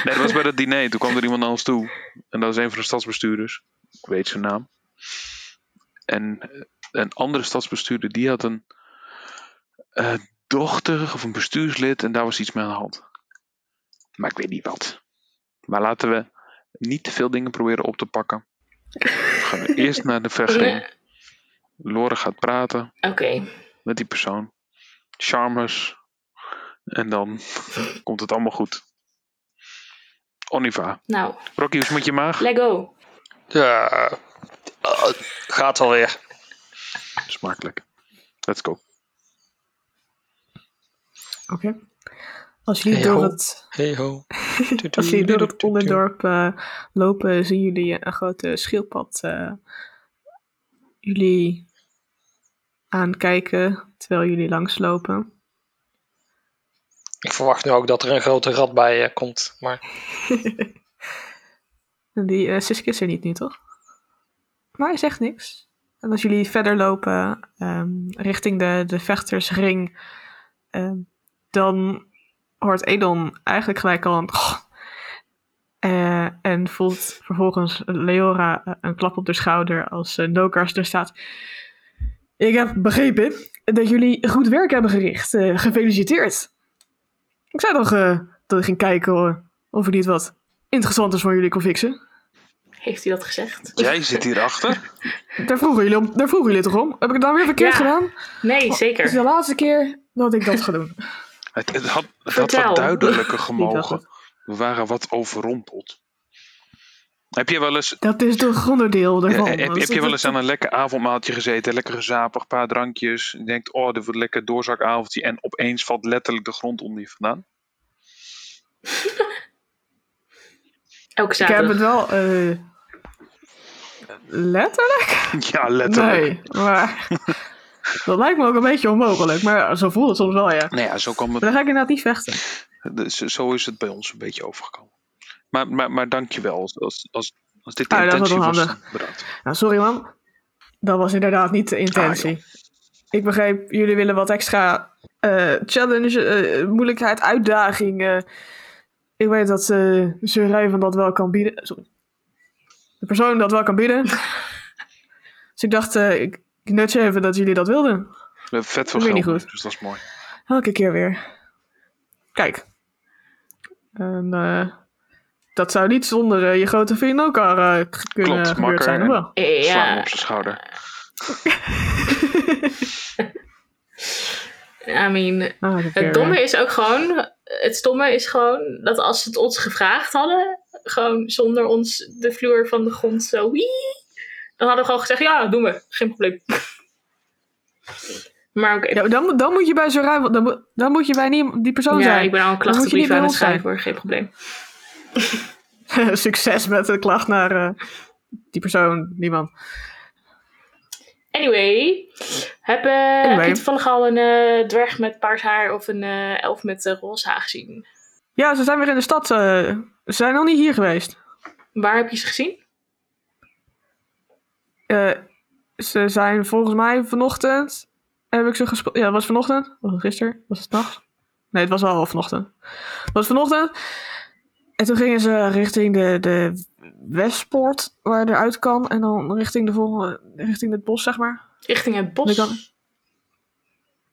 Nee, dat was bij dat diner. Toen kwam er iemand naar ons toe. En dat was een van de stadsbestuurders. Ik weet zijn naam. En eh, een andere stadsbestuurder, die had een eh, dochter of een bestuurslid. En daar was iets mee aan de hand. Maar ik weet niet wat. Maar laten we niet te veel dingen proberen op te pakken. Dan gaan we eerst naar de vechtering. Lore gaat praten Oké. met die persoon. Charmers. En dan komt het allemaal goed. Oniva. Nou, Rocky, hoe moet je maag? Lego. Ja. Eh, gaat alweer. Smakelijk. Let's go. Oké. Als jullie Hey, door ho. het, Hey ho. als jullie door het onderdorp eh, lopen, zien jullie een grote schildpad eh, jullie aankijken terwijl jullie langslopen. Ik verwacht nu ook dat er een grote rat bij eh, komt. Maar En die eh Siske is er niet nu, toch? Maar hij zegt niks. En als jullie verder lopen ehm, richting de, de vechtersring, ehm, dan hoort Edon eigenlijk gelijk al een... Eh, en voelt vervolgens Leora eh, een klap op de schouder als eh Nokars er staat. Ik heb begrepen dat jullie goed werk hebben gericht. Eh, gefeliciteerd. Ik zei toch eh, dat ik ging kijken hoor, of ik niet wat interessant is voor jullie kon fixen. Heeft hij dat gezegd? Jij zit hierachter. Daar vroegen, jullie om, daar vroegen jullie toch om? Heb ik het dan weer verkeerd Ja. gedaan? Nee, Het is de zeker. laatste keer dat ik dat ga doen. Het, het had, het had Vertel. wat duidelijker Ik dacht gemogen. het. We waren wat overrompeld. Heb je wel eens, Dat is toch onderdeel eh, daarvan. heb, Dat is heb je wel toch- eens aan een lekker avondmaaltje gezeten? Lekker gezapig, een paar drankjes. Je denkt, oh, dit wordt een lekker doorzakavondje. En opeens valt letterlijk de grond onder je vandaan. Elke Ik heb het zaterdag. wel... eh letterlijk? ja, letterlijk. Nee, maar... dat lijkt me ook een beetje onmogelijk. Maar zo voelt het soms wel, ja. Maar Nou ja, zo, kwam het, dan ga ik inderdaad niet vechten. de- zo- zo is het bij ons een beetje overgekomen. Maar, maar, maar dank je wel. Als, als, als, als dit de Ah, dat was intentie wel was, handig. bedankt. Nou, sorry man. Dat was inderdaad niet de intentie. Ah, ik begreep, jullie willen wat extra eh, challenge, eh, moeilijkheid, uitdaging. eh. ik weet dat eh Sir Raven dat wel kan bieden. Sorry. De persoon dat wel kan bieden. dus ik dacht, eh, ik ik nudge even dat jullie dat wilden. We hebben vet veel Dat weet geld, niet nu, goed. dus dat is mooi. Elke keer weer. Kijk. En eh, dat zou niet zonder eh, je grote vriend ook al eh, k- kunnen Klopt, gebeurd makker zijn, of en- wel? Slaan hem Eh, Ja, op zijn schouder. I mean, Elke keer eh. Het domme weer. is ook gewoon, het stomme is gewoon dat als ze het ons gevraagd hadden, gewoon zonder ons de vloer van de grond zo wie, dan hadden we gewoon gezegd, ja, doen we, geen probleem. Maar oké, Ja, maar dan, moet- dan moet je bij zo'n ruim, dan, moet- dan moet je bij nie- die persoon ja, zijn. ik ben al een Dan moet je niet klachtenbrief bij aan het ons zijn. schrijven hoor, geen probleem. Succes met de klacht naar eh, die persoon, die man. Anyway, heb, eh heb Anyway. je toevallig al een eh, dwerg met paars haar of een eh, elf met eh, roze haar gezien? Ja, ze zijn weer in de stad. eh, ze zijn nog niet hier geweest. Waar heb je ze gezien? Eh, ze zijn volgens mij vanochtend. Heb ik ze gesproken? Ja, het was vanochtend. Was het gisteren? Was het nacht? Nee, het was wel vanochtend. Het was vanochtend. En toen gingen ze richting de, de Westpoort, waar je eruit kan. En dan richting, de volgende, richting het bos, zeg maar. Richting het bos? Ik kan-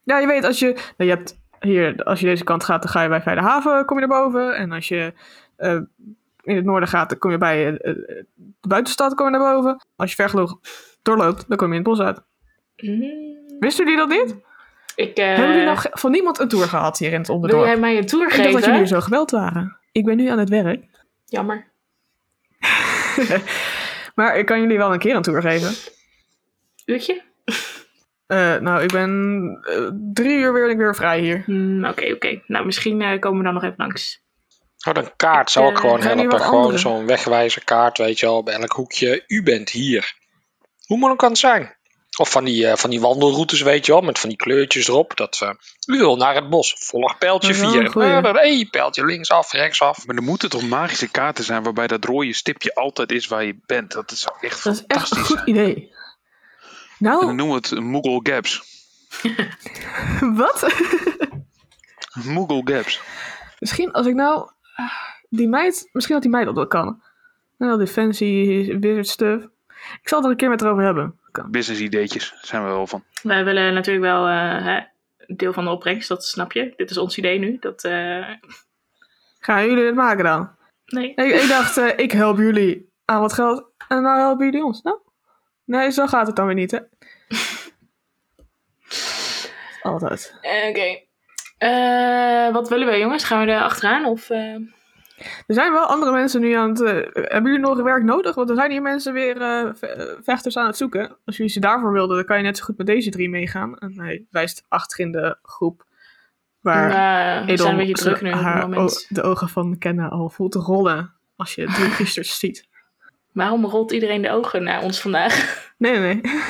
Ja, je weet, als je, nou, je hebt hier, als je deze kant gaat, dan ga je bij Veidehaven, kom je naar boven. En als je eh, in het noorden gaat, dan kom je bij eh, eh, de buitenstad, kom je naar boven. Als je ver genoeg doorloopt, dan kom je in het bos uit. Hmm, Wisten jullie dat niet? ik, eh, Hebben jullie nog ge- van niemand een tour gehad hier in het wil onderdorp? jij mij een tour Ik dacht dat jullie geven? zo geweld waren. Ik ben nu aan het werk. Jammer. maar ik kan jullie wel een keer een tour geven. Uurtje? Eh, nou, ik ben eh, drie uur weer, weer vrij hier. Hmm, Oké, oké. Nou, misschien eh, komen we dan nog even langs. Oh, een kaart zou ook Eh, gewoon zijn hier helpen. wat Gewoon andere? zo'n wegwijzerkaart, weet je wel, bij elk hoekje. U bent hier. Hoe moeilijk kan het zijn? Of van die, eh, van die wandelroutes, weet je wel, met van die kleurtjes erop. Dat, eh, u wil naar het bos, volg pijltje Dat is wel 4. een goeie. hey, pijltje linksaf, rechtsaf. Maar er moeten toch magische kaarten zijn waarbij dat rode stipje altijd is waar je bent. Dat zou echt Dat is echt een fantastisch goed idee. Nou, zijn. En noem het Moogle Gaps. wat? Moogle Gaps. Misschien als ik nou. ah, Die meid. Misschien dat die meid dat wel kan. Nou, defensie, wizard stuff. Ik zal het er een keer met haar over hebben. Kan. Business ideetjes zijn we wel van. Wij willen natuurlijk wel eh, hè, een deel van de opbrengst, dat snap je. Dit is ons idee nu. Dat, eh, Gaan jullie dit maken dan? nee. Ik, ik dacht, eh, ik help jullie aan wat geld. En nou helpen jullie ons. Nou? Nee, zo gaat het dan weer niet, hè? Altijd. Eh, Oké. Eh, wat willen wij, jongens? Gaan we er achteraan? Of, eh, Er zijn wel andere mensen nu aan het. eh, hebben jullie nog werk nodig? Want er zijn hier mensen weer eh, ve- eh, vechters aan het zoeken. Als jullie ze daarvoor wilden, dan kan je net zo goed met deze drie meegaan. En hij wijst achter in de groep. Waar eh, we Edel zijn een beetje ze- druk nu op het haar moment. o- de ogen van Kenna al voelt te rollen. Als je drie gisters ziet. Waarom rolt iedereen de ogen naar ons vandaag? Nee, nee, nee. Oh,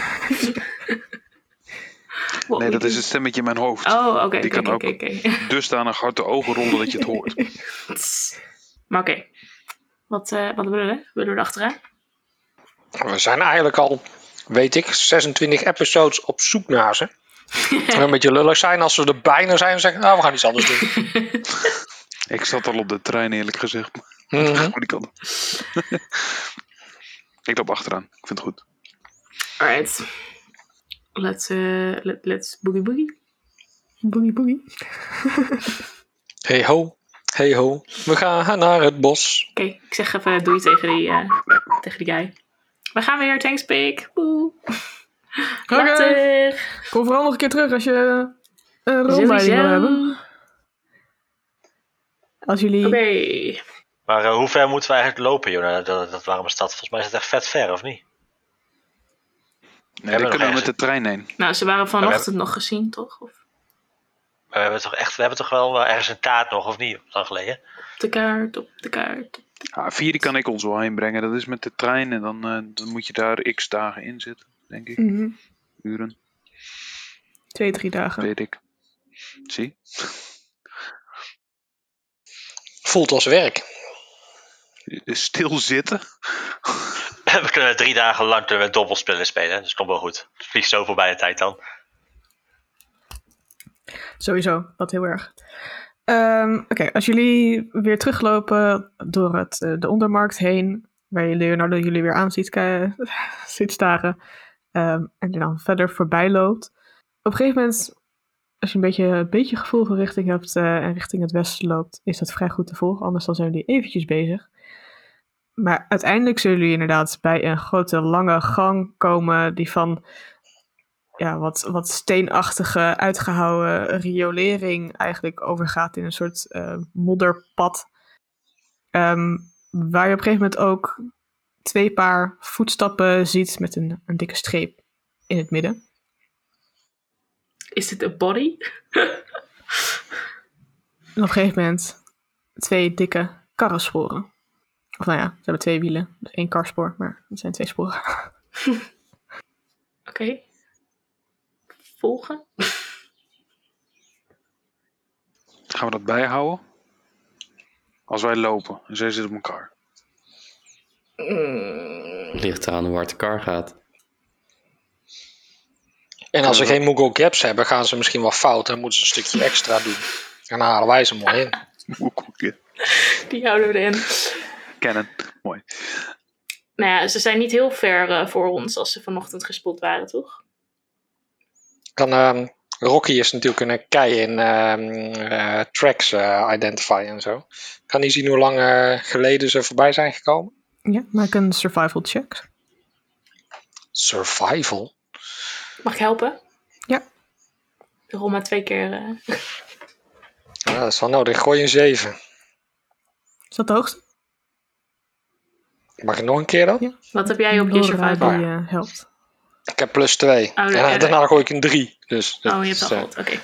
What Nee, we dat do. is het stemmetje in mijn hoofd. Oh, oké, Die oké, kan oké, ook. oké. Dusdanig hard de ogen rollen dat je het hoort. Maar oké. Wat, eh, wat willen we? Willen we er achteraan? We zijn eigenlijk al, weet ik, 26 episodes op zoek naar ze. Het zou een beetje lullig zijn als we er bijna zijn en zeggen, nou, we gaan iets anders doen. Ik zat al op de trein eerlijk gezegd. Maar Mhm. die kant op. Ik loop achteraan. Ik vind het goed. Alright. Let's, eh, let, let's boogie boogie. Boogie boogie. Hey ho, hey ho, we gaan naar het bos. Oké, ik zeg even doei tegen die eh, tegen die guy. We gaan weer, thanks Pik. Boe. Oké. Later. Kom vooral nog een keer terug als je eh, een rondleiding wil eh, Sowieso. hebben. Als jullie... Oké. Maar eh, hoe ver moeten we eigenlijk lopen, joh, naar dat, dat warme stad? Volgens mij is het echt vet ver, of niet? Nee, we dan kunnen we nog met de trein heen. Nou, ze waren vanochtend nog gezien, toch? Of Maar we hebben toch, echt, we hebben toch wel eh, ergens een taart nog, of niet? Lang geleden. op de kaart, op de kaart. Ja, Ah, vier die kan ik ons wel heen brengen. Dat is met de trein en dan, eh, dan moet je daar x dagen in zitten, denk ik. Mhm. Uren, Twee, drie dagen. weet ik. Zie? Voelt als werk. Stil zitten. we kunnen drie dagen lang kunnen we dobbelspellen spelen, dus komt wel goed. Het vliegt zo voorbij de tijd dan. Sowieso, dat heel erg. Ehm, Oké, als jullie weer teruglopen door het, eh, de ondermarkt heen, waar je Leonardo jullie weer aan ziet, ki- ziet staren, ehm, en die dan verder voorbij loopt. Op een gegeven moment, als je een beetje, een beetje gevoel voor richting hebt eh, en richting het westen loopt, is dat vrij goed te volgen, anders dan zijn jullie eventjes bezig. Maar uiteindelijk zullen jullie inderdaad bij een grote lange gang komen die van ja, wat, wat steenachtige, uitgehouwen riolering eigenlijk overgaat in een soort eh, modderpad. Ehm, waar je op een gegeven moment ook twee paar voetstappen ziet met een, een dikke streep in het midden. Is dit een body? En op een gegeven moment twee dikke karrensporen. Of nou ja, ze hebben twee wielen. Dus één karspoor, maar het zijn twee sporen. Oké. Volgen. Gaan we dat bijhouden? Als wij lopen en zij zitten op elkaar. Ligt eraan hoe hard de kar gaat. En als we geen Moogle Gaps hebben, gaan ze misschien wel fout en moeten ze een stukje extra doen. En dan halen wij ze mooi in. Hoe kom je? Die houden we erin. Kennen. Mooi. Nou ja, ze zijn niet heel ver eh, voor ons als ze vanochtend gespot waren, toch? Dan, ehm, Rocky is natuurlijk een kei in ehm, eh, tracks eh identify en zo. Kan hij zien hoe lang eh, geleden ze voorbij zijn gekomen? Ja, maak een survival check. Survival? Mag ik helpen? Ja. Rol maar twee keer. eh. Ja, dat is wel nodig. Gooi een 7. Is dat de hoogste? Mag ik nog een keer dan? Wat heb jij op je Laura survival? die eh, helpt. Ik heb plus 2. Oh, en ja, ja. daarna gooi ik een 3. Dus, dat Oh, je hebt al is, eh, gehad. Oké.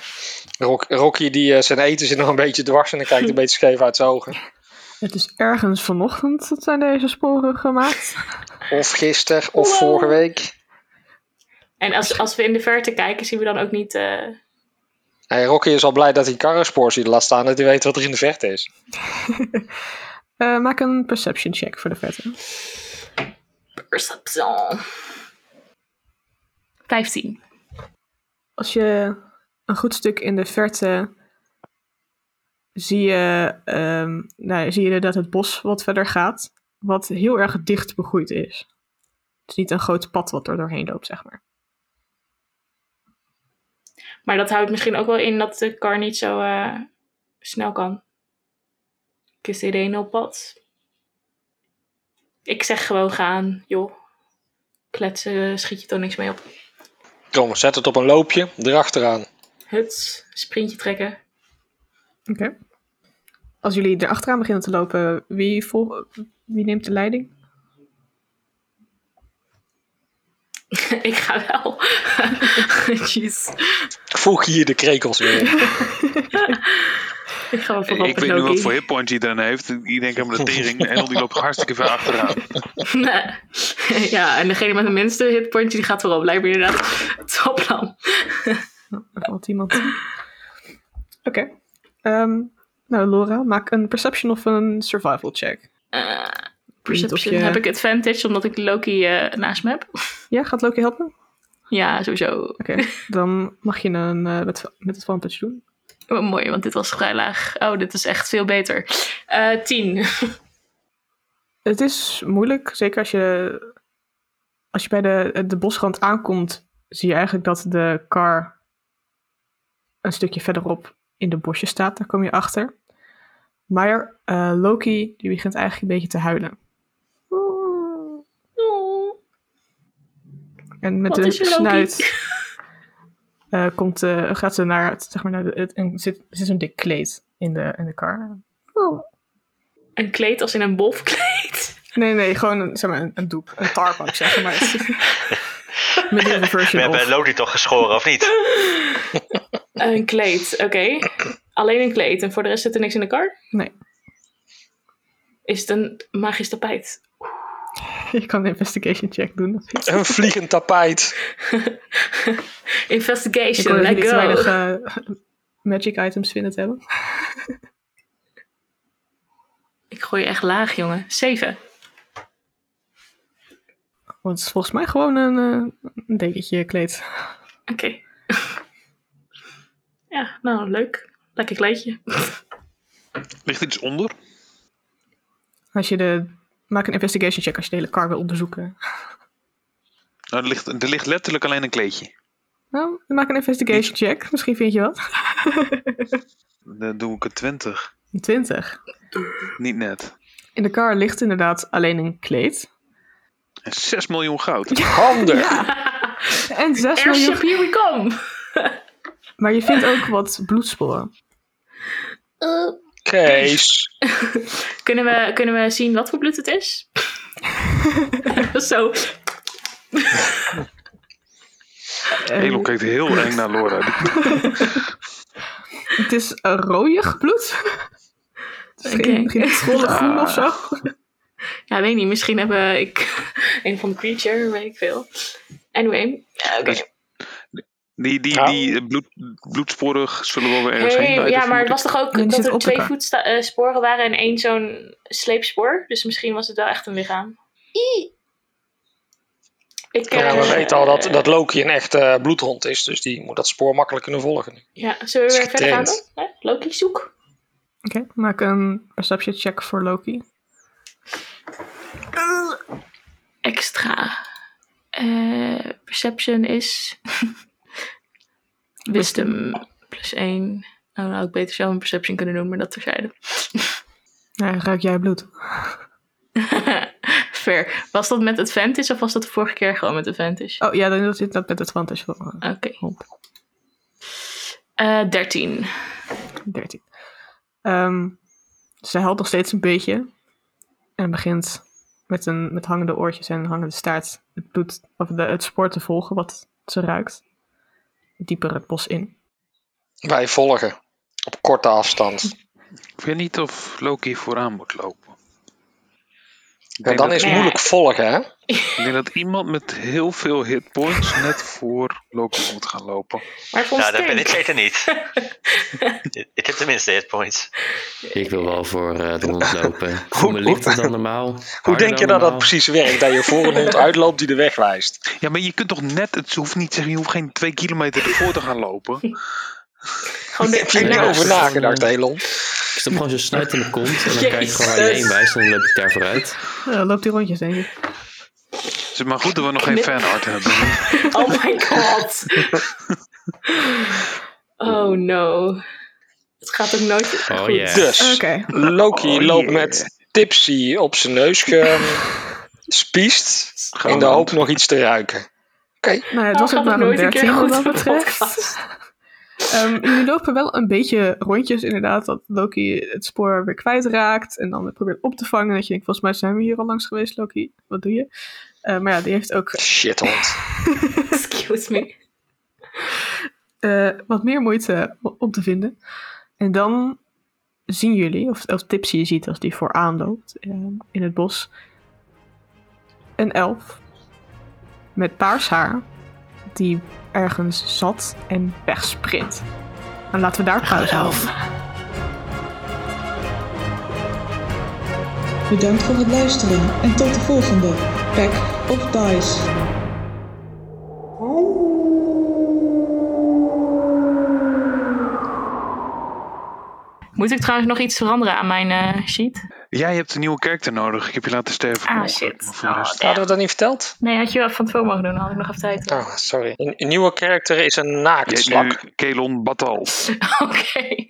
Rock- Rocky die, eh, zijn eten zit nog een beetje dwars en dan kijkt een beetje scheef uit zijn ogen. Het is ergens vanochtend dat zijn deze sporen gemaakt. Of gisteren, of Wow. vorige week. En als, als we in de verte kijken, zien we dan ook niet... eh, Hey, Rocky is al blij dat hij karrenspoor ziet laat staan, dat hij weet wat er in de verte is. Eh, maak een perception check voor de verte. Perception. 15. Als je een goed stuk in de verte zie je, ehm, nou, zie je dat het bos wat verder gaat, wat heel erg dicht begroeid is. Het is niet een groot pad wat er doorheen loopt, zeg maar. Maar dat houdt misschien ook wel in dat de kar niet zo eh, snel kan. Is dit een op pad? Ik zeg gewoon gaan, joh. Kletsen, schiet je toch niks mee op. Kom, zet het op een loopje, erachteraan. Huts, sprintje trekken. Oké. Als jullie erachteraan beginnen te lopen, wie, vol- wie neemt de leiding? ik ga wel. Jeez. Voeg hier de krekels weer. in. Ik ga wel voorop Ik met weet nu wat Loki. voor hitpoint hij dan heeft. Die denkt aan de tering en die loopt hartstikke ver achteraan. Nee. ja, en degene met de minste hitpointje die gaat voorop. Lijkt me inderdaad topplan. Nou, Er valt iemand. Oké. Ehm, nou, Laura, maak een perception of een survival check. Eh weet niet of perception je- heb ik advantage omdat ik Loki eh, naast me heb. Ja, gaat Loki helpen? Ja, sowieso. Oké, dan mag je een eh, met, met advantage doen. Oh, mooi, want dit was vrij laag. Oh, dit is echt veel beter. Eh tien. Het is moeilijk, zeker als je, als je bij de, de bosrand aankomt, zie je eigenlijk dat de kar een stukje verderop in de bosjes staat. Daar kom je achter. Maar eh, Loki, die begint eigenlijk een beetje te huilen. En met Wat de is je Loki? snuit eh, komt, eh, gaat ze naar, het, zeg maar naar de, het, en zit, zit zo'n dik kleed in de, in de kar. Een kleed als in een wolfkleed. Nee, nee, gewoon een, zeg maar, een, een doek. Een tarp, wou ik zeggen. Maar het medieval We version hebben of. Lodi toch geschoren, of niet? Eh, een kleed, oké. Alleen een kleed. En voor de rest zit er niks in de kar? Nee. Is het een magisch tapijt? Je kan een investigation check doen. Een vliegend tapijt. Ik wil Investigation, niet let te go. weinig eh, magic items vinden te hebben. Ik gooi je echt laag, jongen. Zeven. Want het is volgens mij gewoon een, eh, een dekentje kleed. Oké. ja, nou, leuk. Lekker kleedje. Ligt iets onder? Als je de... Maak een investigation check als je de hele kar wil onderzoeken. Nou, er, ligt, er ligt letterlijk alleen een kleedje. Nou, maak een investigation check. Misschien vind je wat. Dan doe ik een 20. Een 20. Niet net. In de kar ligt inderdaad alleen een kleed. En 6 miljoen goud. Handig. En 6 miljoen. Airship, here we come! Maar je vindt ook wat bloedsporen. Eh, Kees. kunnen, we, kunnen we zien wat voor bloed het is? Zo. eh, En Elon kijkt heel eng naar Laura. Die- het is een rooiig bloed. Het is geen, Oké. geen volle groen of zo. Ja, weet niet. Misschien hebben ik een van de creature, weet ik veel. Anyway. Ja, Oké. Die, die, Nou. die eh, bloed, bloedsporig zullen wel weer ergens Hey, heen leiden. ja, maar het vermoed was toch ook Nee, die dat zit er op twee elkaar. voetsta- eh, sporen waren en één zo'n sleepspoor. Dus misschien was het wel echt een lichaam. Ie. Ik, Ja, eh, we weten al dat, dat Loki een echte bloedhond is, dus die moet dat spoor makkelijk kunnen volgen. Ja, zullen we is weer verder gaan dan? getraind. Hè? Loki, zoek. Oké, maak een perception check voor Loki. Extra. Eh, perception is... Wisdom plus één. Nou, dan had ik beter zelf een perception kunnen doen, maar dat terzijde. Ja, ruik jij bloed? Fair. Was dat met advantage of was dat de vorige keer gewoon met advantage? Oh ja, dan zit dat met het advantage voor eh, Oké. Hop. Eh, 13. 13. Ehm, ze huilt nog steeds een beetje. En begint met, een, met hangende oortjes en hangende staart het, bloed, of de, het spoor te volgen wat ze ruikt. Dieper het bos in. Wij volgen op korte afstand. Ik Ik weet niet of Loki vooraan moet lopen. Ik En denk dan dat- is Nee. moeilijk volgen, hè? Ik denk dat iemand met heel veel hitpoints net voor Loki moet gaan lopen. Maar vond Nou, dat ben stink. ik zeker niet. ik heb tenminste hitpoints. Ik wil wel voor eh, de hond lopen. Voel me hoe- lichter dan normaal. Hoe harder denk je dat dan dat normaal. precies werkt? Dat je voor een hond uitloopt die de weg wijst. Ja, maar je kunt toch net, het hoeft niet zeggen, je hoeft geen twee kilometer ervoor te gaan lopen. Oh, Gewoon Heb je er de niet Ja. over nagedacht, Elon? Ik stop gewoon zo snuit in de kont en dan kijk ik gewoon waar je Jezus. heen wijst en dan loop ik daar vooruit. Eh, loopt die rondjes, denk ik. Het is Dus, maar goed dat we nog geen fanart hebben. Oh my god. oh no. Het gaat ook nooit Oh, goed. yeah. Oké. Dus, Eh, Loki Oh, loopt yeah. met Tipsy op zijn neus gespiest. in de hoop nog iets te ruiken. Nou ja, het was Oh, ook gaat maar een het nooit een 13 keer wat goed dat voor de betreft. podcast? Ehm, jullie lopen wel een beetje rondjes inderdaad, dat Loki het spoor weer kwijtraakt en dan weer probeert op te vangen. En dat je denkt, volgens mij zijn we hier al langs geweest, Loki. Wat doe je? Eh, maar ja, die heeft ook Shit, hond. Excuse me. eh, wat meer moeite o- om te vinden. En dan zien jullie, of, of Tipsy je ziet als die vooraan loopt eh, in het bos, een elf met paars haar die ergens zat en wegsprint. En laten we daar pauze houden. Bedankt voor het luisteren en tot de volgende Pack of Dice. Moet ik trouwens nog iets veranderen aan mijn eh, sheet? Jij hebt een nieuwe character nodig. Ik heb je laten sterven. per Ah, ongeluk, shit. maar voor de Oh, rest- Hadden we dat niet verteld? Nee, had je wel van tevoren mogen doen. Dan had ik nog even tijd. Oh, sorry. Een, een nieuwe karakter is een Je heet naaktslak. nu Kelon Batal. Oké.